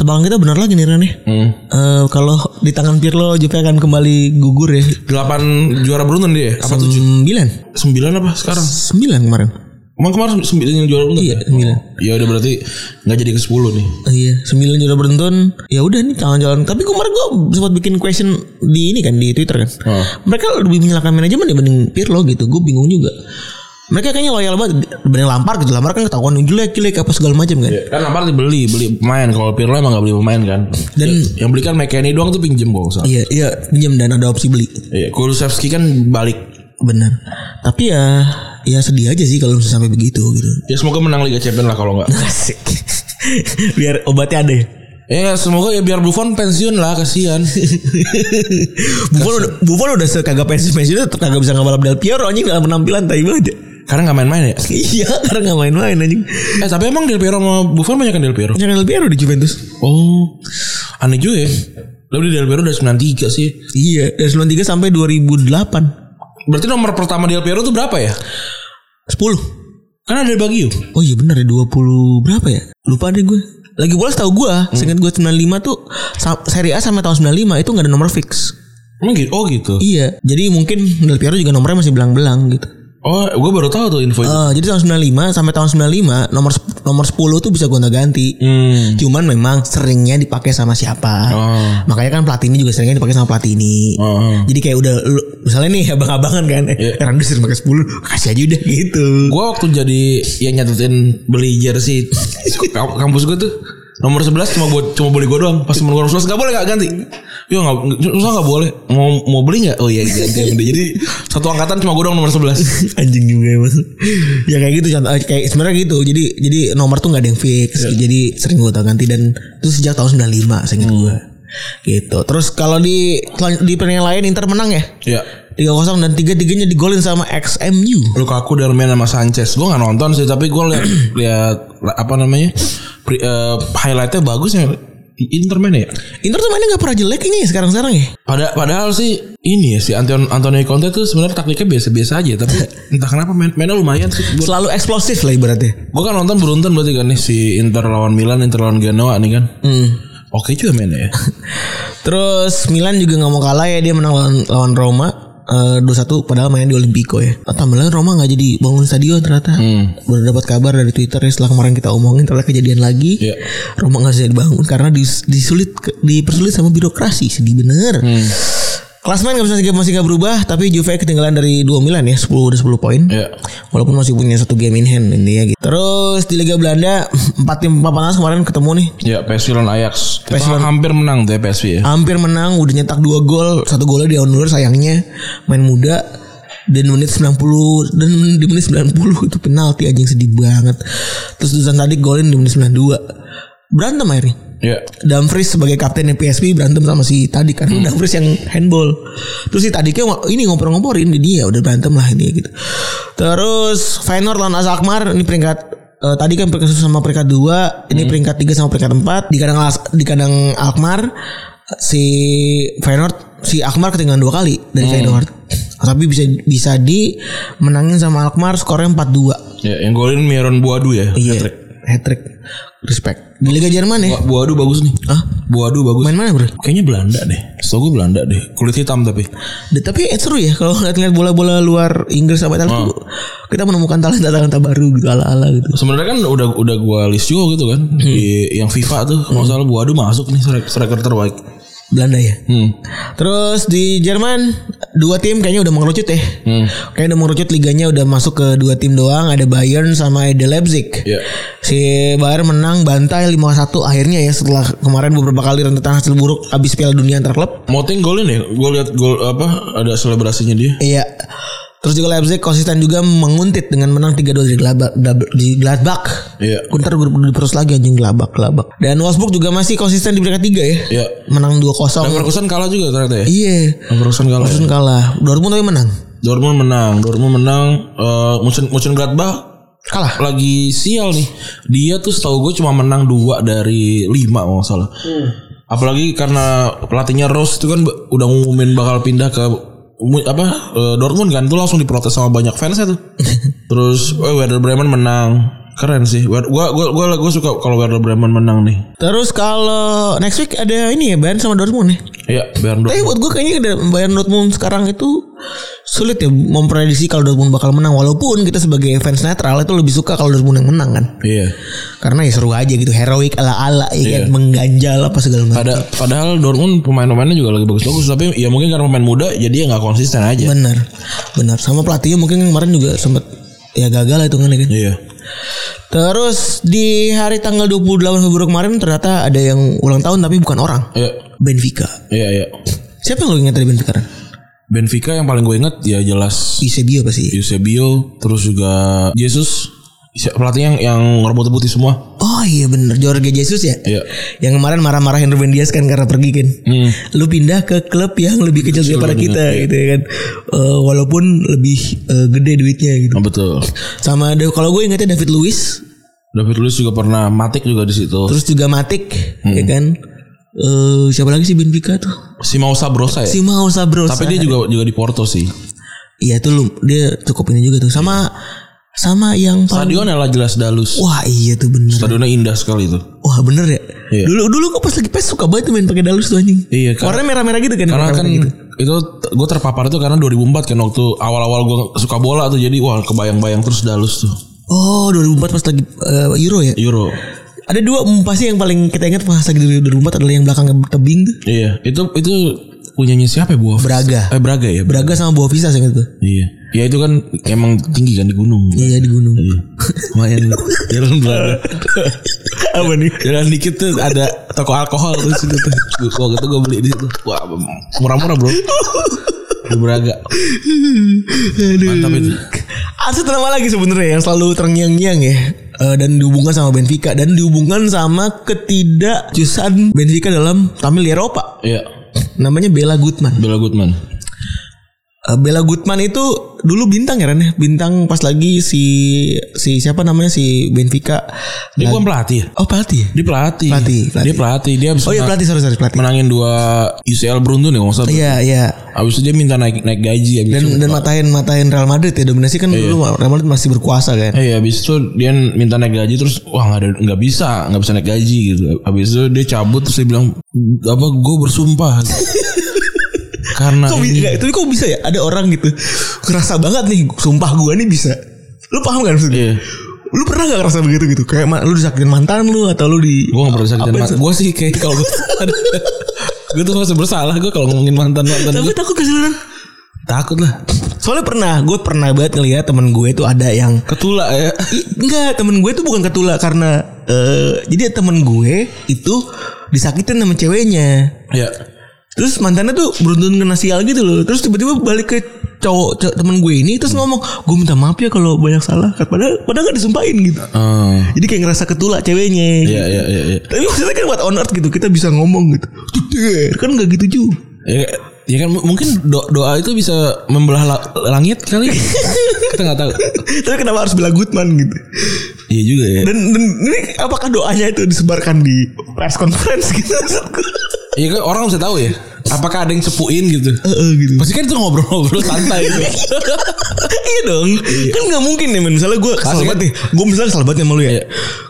[SPEAKER 3] tebakan kita benar lagi nih Ren ya.
[SPEAKER 2] Hmm.
[SPEAKER 3] Eh, kalau di tangan Pirlo Juve akan kembali gugur ya.
[SPEAKER 2] Delapan juara beruntun dia. ya? Apa tujuh?
[SPEAKER 3] Sembilan.
[SPEAKER 2] Sembilan apa sekarang?
[SPEAKER 3] Sembilan kemarin.
[SPEAKER 2] Emang kemarin sembilan yang juara beruntun? Iya.
[SPEAKER 3] Sembilan.
[SPEAKER 2] Ya udah berarti nggak jadi ke sepuluh nih.
[SPEAKER 3] Oh iya, 9 juara beruntun. Ya udah nih jalan-jalan. Tapi kemarin gue sempat bikin question di ini kan di Twitter kan.
[SPEAKER 2] Oh.
[SPEAKER 3] Mereka lebih menyalahkan manajemen dibanding Pirlo gitu. Gue bingung juga. Mereka kayaknya loyal banget dibanding Lampard gitu. Lampard kan ketahuan jelek-jelek apa segala macam kan.
[SPEAKER 2] Kan Lampard dibeli beli pemain kalau Pirlo emang nggak beli pemain kan.
[SPEAKER 3] Dan-
[SPEAKER 2] Ya, yang beli kan McKennie doang tuh pinjem kok usah.
[SPEAKER 3] Iya, iya pinjam dan ada opsi beli.
[SPEAKER 2] Iya. Kulusevski kan balik.
[SPEAKER 3] Benar. Tapi ya ya sedih aja sih kalau misalnya sampai begitu gitu.
[SPEAKER 2] Ya semoga menang Liga Champions lah kalau nggak.
[SPEAKER 3] Asik. Biar obatnya ada ya.
[SPEAKER 2] ya semoga ya biar Buffon pensiun lah kasihan.
[SPEAKER 3] Buffon udah, Buffon udah sekagak pensiun pensiun tetap kagak bisa ngawal Del Piero anjing dalam penampilan tai banget. ya.
[SPEAKER 2] Karena nggak main-main ya.
[SPEAKER 3] Iya, karena nggak main-main anjing.
[SPEAKER 2] Eh tapi emang Del Piero sama Buffon banyak kan Del Piero?
[SPEAKER 3] Punya Del Piero di Juventus.
[SPEAKER 2] Oh, aneh juga ya. Lalu di Del Piero udah 93 sih.
[SPEAKER 3] Iya, dari 93 sampai 2008.
[SPEAKER 2] Berarti nomor pertama Del Piero tuh berapa ya?
[SPEAKER 3] 10.
[SPEAKER 2] Karena ada Bagio.
[SPEAKER 3] Oh iya benar ya 20 berapa ya? Lupa deh gue. Lagi bola tahu gue,
[SPEAKER 2] Hmm.
[SPEAKER 3] seingat gue 95 tuh sa- Serie A sama tahun 95 itu nggak ada nomor fix.
[SPEAKER 2] Emang gitu? Oh gitu.
[SPEAKER 3] Iya, jadi mungkin Del Piero juga nomornya masih belang-belang gitu.
[SPEAKER 2] Oh, gue baru tahu tuh info itu.
[SPEAKER 3] Eh, jadi tahun 95 sampai tahun 95 nomor sep- nomor 10 tuh bisa gonta ganti.
[SPEAKER 2] Hmm.
[SPEAKER 3] Cuman memang seringnya dipakai sama siapa.
[SPEAKER 2] Oh.
[SPEAKER 3] Makanya kan Platini juga seringnya dipakai sama Platini.
[SPEAKER 2] Oh. Iya.
[SPEAKER 3] Jadi kayak udah lu- misalnya nih abang-abangan kan. Eh, Randy sering pakai 10, kasih aja udah gitu.
[SPEAKER 2] Gue waktu jadi yang nyatetin beli jersey kam- kampus gue tuh nomor 11 cuma buat cuma beli gue doang. Pas temen gue nomor 11 gak boleh gak ganti. Yo nggak susah gak boleh. Mau mau beli nggak? Oh iya ganti. Udah, Jadi satu angkatan cuma gue doang nomor 11.
[SPEAKER 3] Anjing juga ya mas. Ya kayak gitu contoh kayak sebenarnya gitu. Jadi jadi nomor tuh nggak ada yang fix. Jadi sering gonta ganti dan itu sejak tahun 95 seingat gue. Gitu. Terus kalau di di pertandingan lain Inter menang ya?
[SPEAKER 2] ya.
[SPEAKER 3] tiga kosong dan tiga tiganya digolin sama XMU
[SPEAKER 2] Lukaku dan main sama Sanchez. Gue nggak nonton sih, tapi gue lihat lihat apa namanya pre, eh, highlightnya bagus ya. Inter main ya.
[SPEAKER 3] Inter tuh mainnya nggak pernah jelek ini ya sekarang sekarang ya
[SPEAKER 2] Pada, padahal sih ini ya si Anton Antonio Conte tuh sebenarnya taktiknya biasa-biasa aja, tapi entah kenapa main, mainnya lumayan sih. Gua,
[SPEAKER 3] selalu eksplosif lah ibaratnya
[SPEAKER 2] gua kan nonton beruntun berarti kan nih si Inter lawan Milan, Inter lawan Genoa nih kan.
[SPEAKER 3] Hmm.
[SPEAKER 2] Oke juga mainnya ya.
[SPEAKER 3] terus Milan juga nggak mau kalah ya dia menang lawan, lawan Roma Eh, dua satu padahal mainnya di Olimpico ya oh, tambah lagi Roma nggak jadi bangun stadion ternyata baru dapat kabar dari Twitter ya setelah kemarin kita omongin ternyata kejadian lagi
[SPEAKER 2] Iya.
[SPEAKER 3] Roma nggak bisa dibangun karena dis- disulit dipersulit sama birokrasi sedih bener Klasmen nggak bisa masih nggak berubah tapi Juve ketinggalan dari dua Milan ya 10 udah 10 poin
[SPEAKER 2] ya.
[SPEAKER 3] Walaupun masih punya satu game in hand intinya gitu. Terus di Liga Belanda empat tim papan atas kemarin ketemu nih.
[SPEAKER 2] Ya PSV lawan Ajax. Itu
[SPEAKER 3] PSV lawan- Ah.
[SPEAKER 2] hampir menang tuh ya PSV ya.
[SPEAKER 3] Hampir menang, udah nyetak dua gol, satu golnya di undur sayangnya main muda dan menit 90 dan di menit 90 itu penalti anjing sedih banget. Terus Dusan tadi golin di menit 92. Berantem akhirnya.
[SPEAKER 2] Ya.
[SPEAKER 3] Dumfries sebagai kaptennya PSV berantem sama si tadi kan Dumfries yang handball. Terus si tadi ini ngompor-ngomporin di dia udah berantem lah ini gitu. Terus Feyenoord lawan AS Alkmaar ini peringkat eh, tadi kan peringkat satu sama peringkat 2, ini peringkat 3 sama peringkat 4 di kandang As- di kandang Alkmaar si Feyenoord si Alkmaar ketinggalan dua kali dari Feyenoord. Tapi bisa bisa di menangin sama Alkmaar skornya 4-2.
[SPEAKER 2] Ya, yang golin Miron Buadu ya.
[SPEAKER 3] Iya. Hat trick. Respect. Di Liga Jerman ya?
[SPEAKER 2] Bu- Buadu bagus nih.
[SPEAKER 3] Hah?
[SPEAKER 2] Buadu bagus.
[SPEAKER 3] Ah. Main mana, Bro?
[SPEAKER 2] Kayaknya Belanda deh. Setahu gue Belanda deh. Kulit hitam tapi.
[SPEAKER 3] Da- tapi eh, seru ya kalau ngeliat-ngeliat bola-bola luar Inggris sama Italia tuh kita menemukan talenta-talenta baru gitu ala-ala gitu.
[SPEAKER 2] Sebenarnya kan udah udah gua list juga gitu kan.
[SPEAKER 3] Hmm.
[SPEAKER 2] Di yang FIFA tuh masalah Buadu masuk nih strike- striker terbaik.
[SPEAKER 3] Belanda ya.
[SPEAKER 2] Hmm.
[SPEAKER 3] Terus di Jerman dua tim kayaknya udah mengerucut ya. Kayaknya udah mengerucut liganya udah masuk ke dua tim doang ada Bayern sama ada Leipzig.
[SPEAKER 2] Ya.
[SPEAKER 3] Si Bayern menang bantai 5-1 akhirnya ya setelah kemarin beberapa kali rentetan hasil buruk abis Piala Dunia antar klub.
[SPEAKER 2] Moting golin ya. Gua lihat gol apa ada selebrasinya dia.
[SPEAKER 3] Iya. Terus juga Leipzig konsisten juga menguntit dengan menang 3-2 di Gladbach. Di Gladbach.
[SPEAKER 2] Iya.
[SPEAKER 3] Gua Ntar gue terus lagi anjing Gladbach, Gladbach. Dan Wolfsburg juga masih konsisten di peringkat 3 ya.
[SPEAKER 2] Iya.
[SPEAKER 3] Menang 2-0.
[SPEAKER 2] Leverkusen kalah juga ternyata ya.
[SPEAKER 3] Iya.
[SPEAKER 2] Leverkusen kalah. ya.
[SPEAKER 3] Terus kalah. Dortmund tapi menang.
[SPEAKER 2] Dortmund menang. Dortmund menang. Eh Munchen Munchen Gladbach
[SPEAKER 3] Kalah.
[SPEAKER 2] lagi sial nih. Dia tuh setahu gue cuma menang dua dari lima kalau nggak salah. Apalagi karena pelatihnya Rose itu kan be- udah ngumumin bakal pindah ke mu- apa eh, Dortmund kan tuh langsung diprotes sama banyak fansnya tuh. Terus eh, Werder Bremen menang. Keren sih. Wer- Gua gua gua, gua suka kalau Werder Bremen menang nih.
[SPEAKER 3] Terus kalau next week ada ini ya Bayern sama Dortmund ya.
[SPEAKER 2] Iya, Bayern
[SPEAKER 3] Tapi
[SPEAKER 2] Dortmund.
[SPEAKER 3] buat gue kayaknya ada- Bayern Dortmund sekarang itu sulit ya memprediksi kalau Dortmund bakal menang walaupun kita sebagai fans netral itu lebih suka kalau Dortmund yang menang kan.
[SPEAKER 2] Iya.
[SPEAKER 3] Karena ya seru aja gitu heroik ala-ala ya kan
[SPEAKER 2] Iya.
[SPEAKER 3] mengganjal apa segala macam.
[SPEAKER 2] Pada, padahal Dortmund pemain-pemainnya juga lagi bagus-bagus tapi ya mungkin karena pemain muda jadi ya nggak konsisten aja.
[SPEAKER 3] Benar. Benar. Sama pelatihnya mungkin kemarin juga sempet ya gagal lah hitungannya kan.
[SPEAKER 2] Iya.
[SPEAKER 3] Terus di hari tanggal 28 Februari kemarin ternyata ada yang ulang tahun tapi bukan orang.
[SPEAKER 2] Iya.
[SPEAKER 3] Benfica.
[SPEAKER 2] Iya, iya.
[SPEAKER 3] Siapa yang lo ingat dari Benfica? Ran?
[SPEAKER 2] Benfica yang paling gue inget ya jelas
[SPEAKER 3] Eusebio pasti.
[SPEAKER 2] Iya. Eusebio terus juga Jesus si- pelatih yang yang rambutnya putih semua.
[SPEAKER 3] Oh iya bener Jorge Jesus ya
[SPEAKER 2] Iya.
[SPEAKER 3] Yang kemarin marah-marahin Ruben Dias kan karena pergi kan
[SPEAKER 2] Hmm.
[SPEAKER 3] Lu pindah ke klub yang lebih kecil daripada kita gitu ya kan Eh, Walaupun lebih eh, gede duitnya gitu
[SPEAKER 2] Oh, betul.
[SPEAKER 3] Sama ada kalau gue ingetnya David Luiz
[SPEAKER 2] David Luiz juga pernah matik juga di situ.
[SPEAKER 3] Terus juga Matic
[SPEAKER 2] Hmm.
[SPEAKER 3] ya kan Eh, Siapa lagi sih Benfica tuh
[SPEAKER 2] Si Mau Sabrosa ya.
[SPEAKER 3] Si Mau Sabrosa
[SPEAKER 2] tapi dia juga juga di Porto sih.
[SPEAKER 3] Iya tuh lu, dia cukup ini juga tuh Sama Sama yang paling
[SPEAKER 2] Stadionnya lah jelas Dalus.
[SPEAKER 3] Wah iya tuh bener
[SPEAKER 2] Stadionnya indah sekali itu.
[SPEAKER 3] Wah bener ya
[SPEAKER 2] Iya.
[SPEAKER 3] Dulu dulu gue pas lagi pes suka banget tuh main pakai dalus tuh anjing
[SPEAKER 2] Iya, kan.
[SPEAKER 3] Warnanya merah-merah gitu kan
[SPEAKER 2] Karena kan
[SPEAKER 3] merah-merah gitu.
[SPEAKER 2] itu gue terpapar itu karena 2004 kan waktu awal-awal gue suka bola tuh jadi wah kebayang-bayang terus dalus tuh
[SPEAKER 3] Oh 2004 pas lagi eh, Euro ya
[SPEAKER 2] Euro.
[SPEAKER 3] Ada dua mm, pasti yang paling kita ingat pas lagi dari 2004 adalah yang belakang tebing tuh
[SPEAKER 2] Iya, itu itu punyanya siapa ya Bu? Hafiz?
[SPEAKER 3] Braga.
[SPEAKER 2] Eh Braga ya. Braga.
[SPEAKER 3] Braga sama Boavista sih gitu
[SPEAKER 2] Iya. Ya itu kan emang tinggi kan di gunung.
[SPEAKER 3] Iya di gunung
[SPEAKER 2] Iya. Lumayan jalan Braga.
[SPEAKER 3] Apa nih?
[SPEAKER 2] Jalan dikit tuh ada toko alkohol tuh situ tuh. Gua waktu itu gue beli di situ. Wah, murah-murah, Bro. Di Braga. Mantap itu.
[SPEAKER 3] Ada satu nama lagi sebenarnya yang selalu terngiang-ngiang ya Eh, dan dihubungkan sama Benfica dan dihubungkan sama ketidakjusan Benfica dalam tampil di Eropa.
[SPEAKER 2] Iya.
[SPEAKER 3] Namanya Bella Goodman.
[SPEAKER 2] Bella Goodman.
[SPEAKER 3] Eh, Bella Goodman itu dulu bintang ya Ren ya? Bintang pas lagi si si siapa namanya si Benfica.
[SPEAKER 2] Dia bukan pelatih ya?
[SPEAKER 3] Oh pelatih. ya?
[SPEAKER 2] Dia pelatih.
[SPEAKER 3] Pelatih,
[SPEAKER 2] Dia pelatih. Dia habis
[SPEAKER 3] Oh iya
[SPEAKER 2] mena-
[SPEAKER 3] pelatih sorry sorry pelatih.
[SPEAKER 2] menangin dua UCL beruntun ya, maksudnya.
[SPEAKER 3] Iya iya.
[SPEAKER 2] Abis itu dia minta naik naik gaji abis itu.
[SPEAKER 3] Dan dan matain matain Real Madrid ya dominasi kan dulu Real Madrid masih berkuasa kan.
[SPEAKER 2] Iya, habis itu dia minta naik gaji terus wah nggak ada nggak bisa nggak bisa naik gaji gitu. Habis itu dia cabut terus dia bilang apa gue bersumpah karena
[SPEAKER 3] Kok bi-
[SPEAKER 2] ini
[SPEAKER 3] nggak, tapi kok bisa ya ada orang gitu kerasa banget nih sumpah gua nih bisa. Lu paham kan maksudnya?
[SPEAKER 2] Iya.
[SPEAKER 3] Lu pernah gak ngerasa begitu gitu? Kayak ma- lu disakitin mantan lu atau lu di
[SPEAKER 2] gue nggak pernah sakitin
[SPEAKER 3] Apa
[SPEAKER 2] mantan.
[SPEAKER 3] yang-
[SPEAKER 2] Gue sih kayak kalau gue gue tuh masih bersalah gue kalau ngomongin mantan mantan
[SPEAKER 3] Tapi
[SPEAKER 2] gue
[SPEAKER 3] takut kesulitan.
[SPEAKER 2] takut lah
[SPEAKER 3] Soalnya pernah, gue pernah banget ngeliat temen gue tuh ada yang
[SPEAKER 2] ketula ya.
[SPEAKER 3] I- Enggak, temen gue tuh bukan ketula karena eh jadi temen gue itu disakitin sama ceweknya.
[SPEAKER 2] Iya.
[SPEAKER 3] Terus mantannya tuh beruntun kena sial gitu loh. Terus tiba-tiba balik ke cowok, cowok temen gue ini terus ngomong, "Gue minta maaf ya kalau banyak salah." Padahal padahal gak disumpahin gitu.
[SPEAKER 2] Eh,
[SPEAKER 3] Jadi kayak ngerasa ketula ceweknya.
[SPEAKER 2] Iya iya iya iya.
[SPEAKER 3] Tapi maksudnya kan buat on earth gitu, kita bisa ngomong gitu. Duder, Kan gak gitu juga.
[SPEAKER 2] Ya, ya kan mu- mungkin do- doa itu bisa membelah la- langit kali. Kita nggak tahu.
[SPEAKER 3] Tapi kenapa harus bilang Goodman gitu?
[SPEAKER 2] Iya juga ya.
[SPEAKER 3] Dan, dan ini apakah doanya itu disebarkan di press conference gitu? maksud gue?
[SPEAKER 2] Iya kan orang bisa tahu ya. Apakah ada yang sepuin gitu?
[SPEAKER 3] Heeh gitu.
[SPEAKER 2] Pasti kan itu ngobrol-ngobrol santai gitu.
[SPEAKER 3] iya dong. Kan nggak mungkin nih, men. misalnya gue kesel
[SPEAKER 2] Pasti kan.
[SPEAKER 3] banget nih. Gue misalnya kesel banget sama lu ya.
[SPEAKER 2] Iya.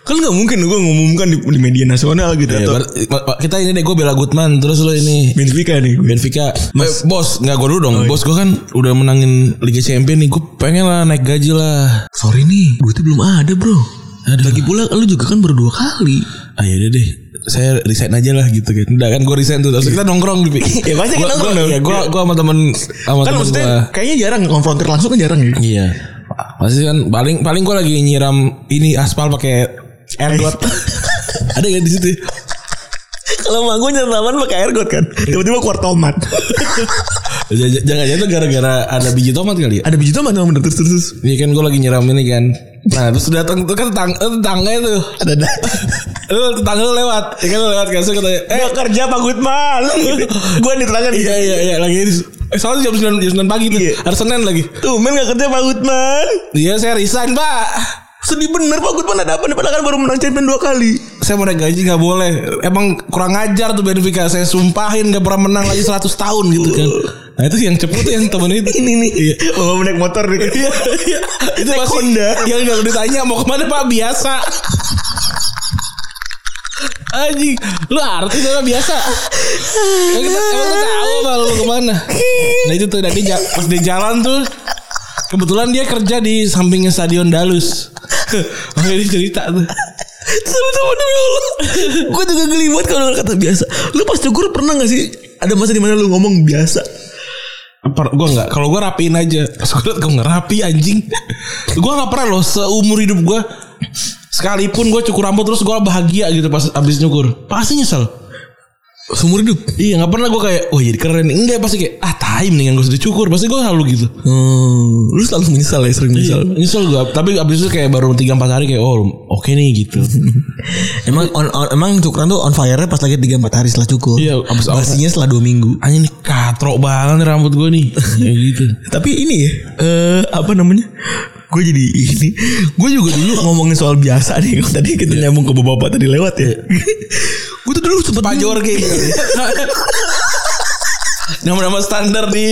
[SPEAKER 3] Kan nggak mungkin gue ngumumkan di, di media nasional gitu
[SPEAKER 2] Ya,
[SPEAKER 3] atau
[SPEAKER 2] bar- ma- ma- kita ini deh gue bela Goodman terus lo ini
[SPEAKER 3] Benfica nih. Gue.
[SPEAKER 2] Benfica. Eh, bos, nggak gue dulu
[SPEAKER 3] Oh, iya.
[SPEAKER 2] dong. Bos gue kan udah menangin Liga Champions nih. Gue pengen lah naik gaji lah.
[SPEAKER 3] Sorry nih, duitnya belum ada bro. Lagi pula lu juga kan baru dua kali.
[SPEAKER 2] Ah yaudah deh. Saya resign aja lah gitu kan. Udah kan gue resign tuh. Terus kita nongkrong di.
[SPEAKER 3] Iya. Ya, pasti kita
[SPEAKER 2] Gua-
[SPEAKER 3] nongkrong
[SPEAKER 2] gua-
[SPEAKER 3] dong. Iya.
[SPEAKER 2] Ya gue gue sama temen sama
[SPEAKER 3] Kan
[SPEAKER 2] temen
[SPEAKER 3] maksudnya
[SPEAKER 2] gua.
[SPEAKER 3] kayaknya jarang konfrontir langsung kan jarang ya.
[SPEAKER 2] Iya. Pasti kan paling paling gue lagi nyiram ini aspal pakai air dot. ada gak di situ?
[SPEAKER 3] Iya. Kalau mak gue nyataman pakai air god kan. Tiba-tiba keluar tomat.
[SPEAKER 2] Jangan-jangan itu gara-gara ada biji tomat kali ya?
[SPEAKER 3] Ada biji tomat emang bener terus terus. terus.
[SPEAKER 2] Iya kan gue lagi nyiram ini kan. Nah terus datang tuh kan tetang- eh, tetangga itu.
[SPEAKER 3] Ada ada.
[SPEAKER 2] Lu tetangga lu lewat. Ya kan lu lewat kan. Terus katanya. Eh
[SPEAKER 3] kerja Pak Gutman. Gue diterangkan
[SPEAKER 2] iya iya iya lagi. Eh soalnya jam 9, jam 9 pagi tuh.
[SPEAKER 3] Iya.
[SPEAKER 2] Harus Senin lagi.
[SPEAKER 3] Tuh men gak kerja Pak Gutman.
[SPEAKER 2] Iya saya resign pak.
[SPEAKER 3] Sedih bener Pak Gutman ada apa nih padahal kan baru menang champion dua kali.
[SPEAKER 2] Saya mau naik gaji nggak boleh. Emang kurang ajar tuh Benfica. Saya sumpahin gak pernah menang lagi 100 tahun gitu kan. Nah itu yang cepet tuh yang temen itu. Iya.
[SPEAKER 3] Ini nih. Bawa naik motor nih. Iya.
[SPEAKER 2] itu pasti
[SPEAKER 3] Honda.
[SPEAKER 2] yang nggak ditanya mau kemana pak biasa anjing lu artis apa biasa Emang kita emang kita tahu apa lu kemana nah itu tuh tadi ja- pas dia jalan tuh kebetulan dia kerja di sampingnya stadion Dalus makanya dia cerita tuh
[SPEAKER 3] Sama-sama demi Allah. Gue juga geli banget kalau dengar kata biasa. Lu pas cukur pernah gak sih ada masa dimana lu ngomong biasa?
[SPEAKER 2] Per, gue nggak kalau gue rapiin aja Soalnya gue nggak rapi anjing gue nggak pernah loh seumur hidup gue sekalipun gue cukur rambut terus gue bahagia gitu pas abis nyukur pasti nyesel
[SPEAKER 3] Seumur hidup.
[SPEAKER 2] Iya nggak pernah gue kayak Wah jadi keren Enggak pasti kayak Ah time dengan gue sudah cukur Pasti gue selalu gitu Iya,
[SPEAKER 3] Hmm, lu selalu menyesal ya sering menyesal.
[SPEAKER 2] Nyesel gue Tapi abis itu kayak baru 3-4 hari Kayak oh oke nih gitu
[SPEAKER 3] Emang on, on- emang cukuran tuh on fire pas lagi 3 4 hari setelah cukur.
[SPEAKER 2] Iya, abis on-
[SPEAKER 3] Basinya setelah 2 minggu.
[SPEAKER 2] Anjing nih katrok banget nih rambut gue nih Ya gitu
[SPEAKER 3] Tapi ini ya, eh apa namanya? Gue jadi ini. Gue juga dulu ngomongin soal biasa nih. Kalau Tadi kita nyambung ke bapak tadi lewat ya. gue tuh dulu sempet
[SPEAKER 2] Pajor kayak gitu Nama-nama standar di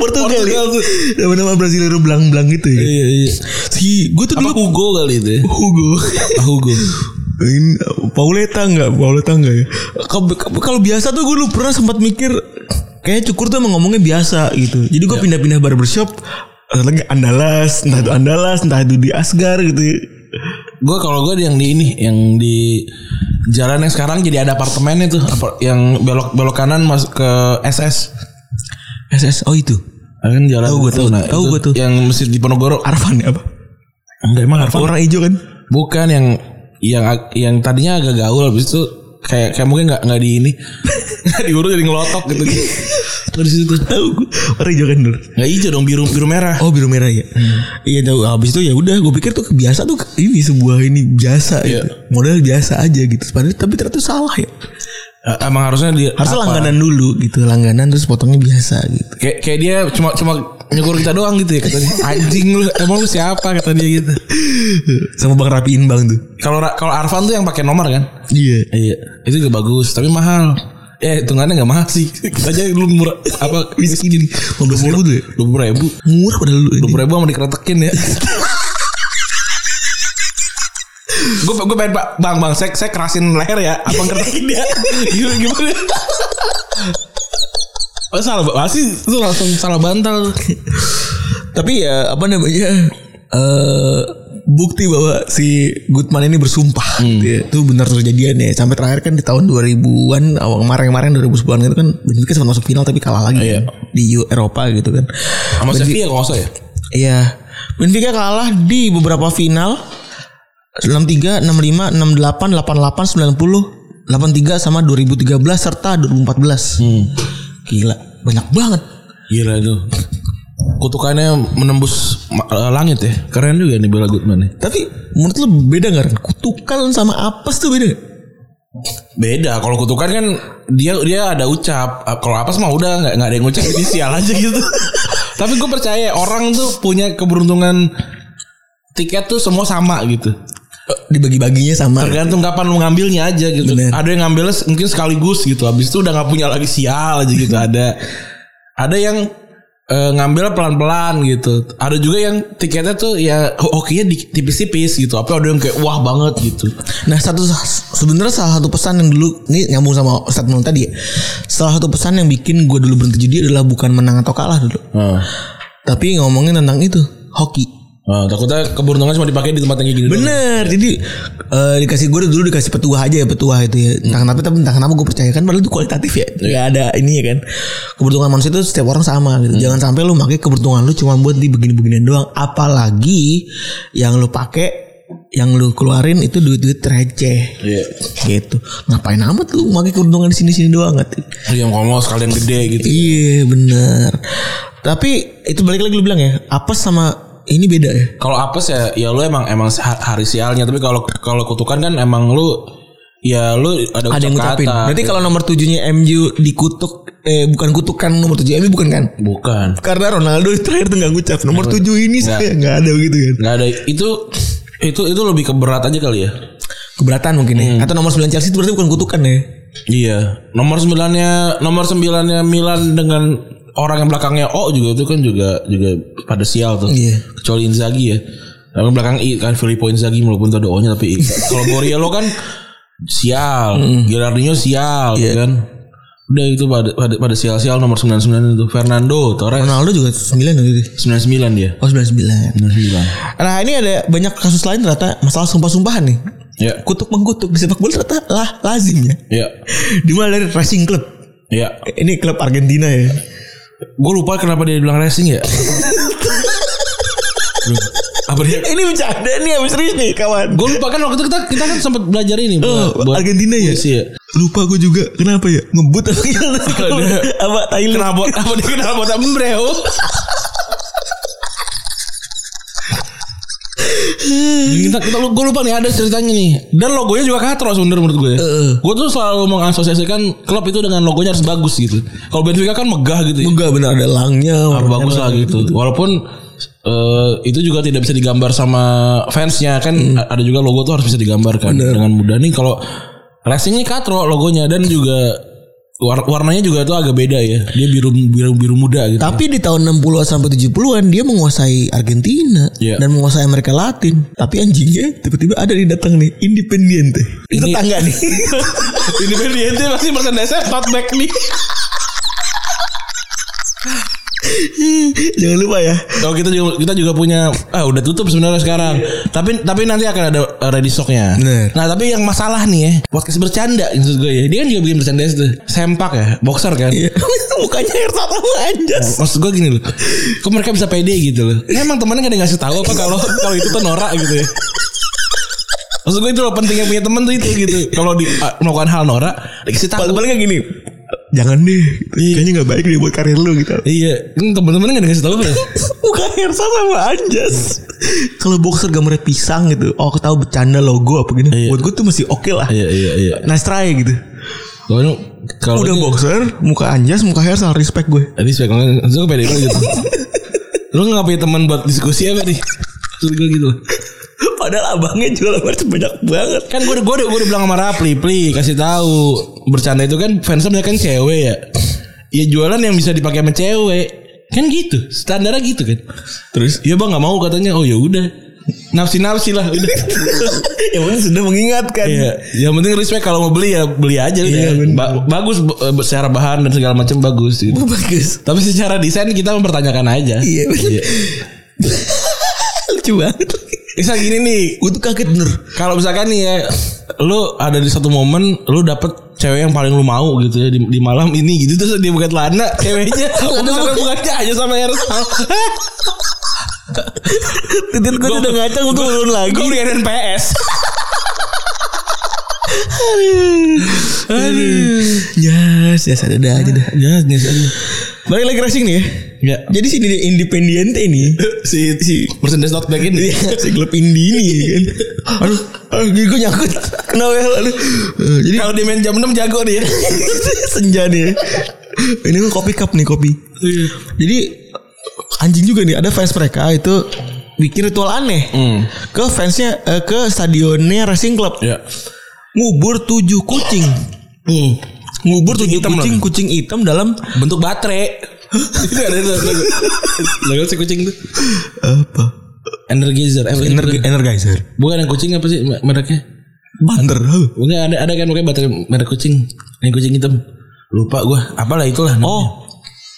[SPEAKER 3] Portugal, ya.
[SPEAKER 2] tuh.
[SPEAKER 3] Nama-nama Brasileiro belang-belang gitu ya.
[SPEAKER 2] Iya iya
[SPEAKER 3] Si gue tuh
[SPEAKER 2] Apa
[SPEAKER 3] dulu
[SPEAKER 2] Hugo kali itu ya
[SPEAKER 3] Hugo.
[SPEAKER 2] Ah, Hugo
[SPEAKER 3] Ini Pauleta enggak? Pauleta enggak ya? Ke- ke- Kalau biasa tuh gue dulu pernah sempat mikir kayak cukur tuh emang ngomongnya biasa gitu. Jadi gue pindah-pindah barbershop eh, lagi Andalas, entah itu Andalas, entah itu di Asgar gitu. ya.
[SPEAKER 2] Gue kalau gue yang di ini Yang di Jalan yang sekarang jadi ada apartemennya tuh Apa- Yang belok belok kanan masuk ke SS
[SPEAKER 3] SS oh itu.
[SPEAKER 2] Ah, kan jalan
[SPEAKER 3] Tahu gua,
[SPEAKER 2] itu,
[SPEAKER 3] tahu.
[SPEAKER 2] nah,
[SPEAKER 3] Tahu
[SPEAKER 2] itu
[SPEAKER 3] gua tuh.
[SPEAKER 2] yang masjid di Ponorogo
[SPEAKER 3] Arfan ya apa?
[SPEAKER 2] enggak emang
[SPEAKER 3] Warna hijau kan?
[SPEAKER 2] bukan yang yang ag- yang tadinya agak gaul habis itu kayak kayak mungkin nggak nggak di ini nggak diurus jadi ngelotok gitu terus itu
[SPEAKER 3] Tahu gue. Warna hijau kan dulu.
[SPEAKER 2] nggak hijau dong biru biru merah
[SPEAKER 3] Oh biru merah ya. Iya tahu. Habis itu ya udah gue pikir tuh biasa tuh ini sebuah ini biasa
[SPEAKER 2] Iya.
[SPEAKER 3] gitu. Model biasa aja gitu. Padahal tapi ternyata salah ya.
[SPEAKER 2] Eh, emang harusnya dia
[SPEAKER 3] Harus
[SPEAKER 2] apa?
[SPEAKER 3] langganan dulu gitu. Langganan terus potongnya biasa gitu.
[SPEAKER 2] kayak kayak dia cuma cuma nyukur kita doang gitu ya katanya anjing lu emang lu siapa kata dia gitu
[SPEAKER 3] Sama Bang rapiin Bang tuh.
[SPEAKER 2] kalau Ra- kalau Arfan tuh yang pakai nomor kan
[SPEAKER 3] Iya.
[SPEAKER 2] Iya, itu juga bagus, tapi mahal. Ya, hitungannya nggak mahal sih. Kita aja lu murah apa
[SPEAKER 3] Bisa gini. 15 ribu tuh ya.
[SPEAKER 2] dua puluh ribu,
[SPEAKER 3] Murah padahal lu.
[SPEAKER 2] dua puluh ribu sama dikeretekin ya. gue gue pengen pak bang bang saya saya kerasin leher ya abang keretekin dia gimana gimana oh, salah pasti itu langsung salah bantal
[SPEAKER 3] Tapi ya apa namanya. eh bukti bahwa si Goodman ini bersumpah gitu ya. Itu benar terjadian ya. Sampai terakhir kan di tahun 2000-an awal kemarin-kemarin 2010-an itu kan Benfica sempat masuk final tapi kalah lagi
[SPEAKER 2] Iya.
[SPEAKER 3] kan. di U- Eropa gitu kan.
[SPEAKER 2] sama Sevilla kalau nggak salah ya
[SPEAKER 3] Iya. Benfica kalah di beberapa final 63, 65, 68, 88, 90, 83 sama 2013 serta 2014. Gila, banyak banget.
[SPEAKER 2] gila itu kutukannya menembus ma- langit ya keren juga nih Bella Goodman nih
[SPEAKER 3] Tapi menurut lo beda gak Ren? Kutukan sama apes tuh beda gak?
[SPEAKER 2] Beda kalau kutukan kan dia dia ada ucap. Ah, Kalau apa mah udah nggak nggak ada yang ngucap ini sial aja gitu. Tapi gue percaya orang tuh punya keberuntungan tiket tuh semua sama gitu.
[SPEAKER 3] Eh, Dibagi-baginya sama.
[SPEAKER 2] Tergantung kapan lu ngambilnya aja gitu.
[SPEAKER 3] Bener.
[SPEAKER 2] Ada yang ngambilnya se- mungkin sekaligus gitu. Habis itu udah nggak punya lagi sial aja gitu. Ada ada yang eh, ngambilnya pelan-pelan gitu. Ada juga yang tiketnya tuh ya hokinya di- tipis-tipis gitu. Tapi ada yang kayak wah banget gitu.
[SPEAKER 3] Nah satu sebenarnya salah satu pesan yang dulu ini nyambung sama statement tadi ya. Salah satu pesan yang bikin gue dulu berhenti jadi adalah bukan menang atau kalah dulu. Tapi ngomongin tentang itu hoki.
[SPEAKER 2] Nah, takutnya keberuntungan cuma dipakai di tempat yang kayak gini. doang.
[SPEAKER 3] Bener, jadi eh, dikasih gue dulu dikasih petuah aja ya petuah itu ya. Entah kenapa tapi entah kenapa gue percaya kan padahal itu kualitatif ya. Ya ada ini ya kan. Keberuntungan manusia itu setiap orang sama gitu. Jangan sampai lu pakai keberuntungan lu cuma buat di begini-beginian doang. Apalagi yang lu pakai yang lu keluarin itu duit-duit receh
[SPEAKER 2] Iya.
[SPEAKER 3] gitu ngapain amat lu pakai keuntungan di sini-sini doang nggak
[SPEAKER 2] Iya, Yang ngomong sekalian gede gitu.
[SPEAKER 3] Iya bener Tapi itu balik lagi lu bilang ya Apes sama ini beda ya
[SPEAKER 2] Kalau apes ya ya lu emang emang ha- hari sialnya tapi kalau kalau kutukan kan emang lu ya lu ada,
[SPEAKER 3] Ada yang
[SPEAKER 2] ucap
[SPEAKER 3] ngucapin
[SPEAKER 2] kata.
[SPEAKER 3] Berarti kalau nomor tujuhnya MU dikutuk Eh bukan kutukan nomor tujuh MU bukan kan
[SPEAKER 2] bukan
[SPEAKER 3] Karena Ronaldo terakhir tuh gak ngucap Nomor tujuh ini saya gak ada begitu kan
[SPEAKER 2] nggak ada itu itu itu lebih ke berat aja kali ya.
[SPEAKER 3] Keberatan mungkin
[SPEAKER 2] Hmm.
[SPEAKER 3] ya Atau nomor 9 Chelsea itu berarti bukan kutukan ya
[SPEAKER 2] Iya. Nomor sembilannya nomor sembilannya Milan dengan orang yang belakangnya O juga itu kan juga juga pada sial tuh.
[SPEAKER 3] Iya.
[SPEAKER 2] Kecuali Inzaghi ya. Yang belakang I kan Filippo Inzaghi walaupun tuh ada O-nya tapi I. Kalau Borriello kan sial, Gerardinho sial gitu kan. Udah itu pada pada, pada sial-sial nomor 99 itu Fernando Torres
[SPEAKER 3] Ronaldo juga 9 gitu
[SPEAKER 2] 99 dia.
[SPEAKER 3] Oh 99
[SPEAKER 2] 99.
[SPEAKER 3] Nah ini ada banyak kasus lain ternyata Masalah sumpah-sumpahan nih
[SPEAKER 2] Ya.
[SPEAKER 3] Kutuk mengkutuk di sepak bola ternyata lah lazim ya
[SPEAKER 2] Ya.
[SPEAKER 3] Dimulai dari Racing Club
[SPEAKER 2] Ya.
[SPEAKER 3] Ini klub Argentina ya
[SPEAKER 2] Gue lupa kenapa dia bilang racing ya. Duh, apa dia
[SPEAKER 3] Ini bercanda nih habis serius nih kawan.
[SPEAKER 2] Gue lupa kan waktu itu kita kita kan sempat belajar ini
[SPEAKER 3] Oh, Argentina ya?
[SPEAKER 2] puisi ya.
[SPEAKER 3] Lupa gue juga kenapa ya ngebut apa gimana?
[SPEAKER 2] Ada.
[SPEAKER 3] apa Thailand?
[SPEAKER 2] Kenapa apa dia kenapa tak membreo? kita, kita, gue lupa nih ada ceritanya nih dan logonya juga katro sebenernya menurut gue
[SPEAKER 3] Heeh.
[SPEAKER 2] gue tuh selalu mengasosiasikan klub itu dengan logonya harus bagus gitu kalau Benfica kan megah gitu ya
[SPEAKER 3] Enggak benar ada langnya.
[SPEAKER 2] Apa bagus lah gitu walaupun eh, itu juga tidak bisa digambar sama fansnya kan a- ada juga logo tuh harus bisa digambarkan dengan mudah nih kalau Racing ini katro logonya dan juga war- warnanya juga tuh agak beda ya dia biru biru biru muda gitu
[SPEAKER 3] Tapi di tahun 60-an sampai 70-an dia menguasai Argentina
[SPEAKER 2] Iya.
[SPEAKER 3] dan menguasai Amerika Latin. Tapi anjingnya tiba-tiba ada yang datang nih Independiente. Itu
[SPEAKER 2] Ini-
[SPEAKER 3] tetangga nih.
[SPEAKER 2] ini berarti pasti merchandise hotback nih
[SPEAKER 3] Jangan lupa ya.
[SPEAKER 2] kalau kita juga kita juga punya ah udah tutup sebenarnya sekarang tapi tapi nanti akan ada eh, ready stocknya
[SPEAKER 3] Bener.
[SPEAKER 2] nah tapi yang masalah nih ya podcast bercanda maksud gue ya dia kan juga bikin bercanda itu sempak ya boxer kan
[SPEAKER 3] Iya. Mukanya air sama anjas.
[SPEAKER 2] Maksud gue gini loh Kok mereka bisa pede gitu loh Ya emang temennya gak ada yang ngasih tahu apa kalau kalau itu tuh norak gitu ya Maksud gue itu loh pentingnya punya temen tuh itu gitu Kalau di ah, melakukan hal norak Dikasih tahu
[SPEAKER 3] Paling paling gini. Jangan deh. Kayaknya nggak baik deh buat karir lu gitu.
[SPEAKER 2] Iya Kan temen-temennya gak dikasih tahu Bro.
[SPEAKER 3] Muka Hersa sama Anjas Kalau boxer gambarnya pisang gitu Oh aku tahu bercanda logo apa gini
[SPEAKER 2] Iya.
[SPEAKER 3] Buat gue tuh masih oke lah
[SPEAKER 2] Iya iya iya
[SPEAKER 3] Nice try gitu
[SPEAKER 2] Kalau kalau
[SPEAKER 3] Udah
[SPEAKER 2] dia-
[SPEAKER 3] boxer Muka Anjas Muka Hersa Respect gue
[SPEAKER 2] Tadi spek banget Maksud gue pede banget gitu Lu gak punya temen buat diskusi apa nih Maksud gue gitu loh
[SPEAKER 3] Padahal abangnya jual merch banyak banget
[SPEAKER 2] kan gue gue gue udah bilang sama Rapli, Pli kasih tahu bercanda itu kan fansnya banyak kan cewek ya. Ya jualan yang bisa dipakai sama cewek. Kan gitu, standarnya gitu kan. Terus ya Bang nggak mau katanya. Oh ya udah. Nafsi-nafsi lah udah.
[SPEAKER 3] Yang penting sudah Ya, mengingatkan
[SPEAKER 2] Iya, yang penting respect kalau mau beli ya beli aja
[SPEAKER 3] Iya,
[SPEAKER 2] udah.
[SPEAKER 3] bener.
[SPEAKER 2] Ba- bagus bu- eh, secara bahan dan segala macam bagus gitu.
[SPEAKER 3] Bagus
[SPEAKER 2] Tapi secara desain kita mempertanyakan aja.
[SPEAKER 3] Iya. Lucu banget
[SPEAKER 2] Bisa gini nih,
[SPEAKER 3] Gue tuh kaget bener
[SPEAKER 2] Kalau misalkan nih ya lu ada di satu momen lu dapet cewek yang paling lu mau gitu ya di, di malam ini gitu terus dia buka celana ceweknya udah sampai bukannya aja sama Ersal.
[SPEAKER 3] Titit gue udah ngacang Untuk turun lagi
[SPEAKER 2] Gue udah ada PS.
[SPEAKER 3] Yes Yes ada aja dah
[SPEAKER 2] Ya, ya, ya.
[SPEAKER 3] Balik lagi racing nih ya
[SPEAKER 2] Ya.
[SPEAKER 3] Jadi sini dia Independiente nih
[SPEAKER 2] Si si Mercedes not back ini.
[SPEAKER 3] Iya, si klub indie ini kan. Aduh, aduh gigi gue nyangkut. Kenapa ya? Aduh. Eh, jadi
[SPEAKER 2] Kalau dia main jam 6 jago ya. dia.
[SPEAKER 3] senja nih. ya. Ini gue kopi cup nih kopi. Jadi anjing juga nih ada fans mereka itu bikin ritual aneh ke fansnya eh, ke stadionnya Racing Club
[SPEAKER 2] Hmm. Ya.
[SPEAKER 3] ngubur tujuh kucing
[SPEAKER 2] Hmm.
[SPEAKER 3] ngubur
[SPEAKER 2] Kucing
[SPEAKER 3] tujuh
[SPEAKER 2] hitam
[SPEAKER 3] kucing kucing hitam dalam
[SPEAKER 2] Bentuk baterai. itu ada itu. Lagu si kucing tuh.
[SPEAKER 3] apa
[SPEAKER 2] Energizer. Eh,
[SPEAKER 3] Energi- energizer
[SPEAKER 2] bukan yang kucing apa sih mereknya?
[SPEAKER 3] banter huh.
[SPEAKER 2] Enggak ada ada kan pakai baterai merek kucing. Yang kucing hitam. Lupa gua. Apalah itulah namanya.
[SPEAKER 3] oh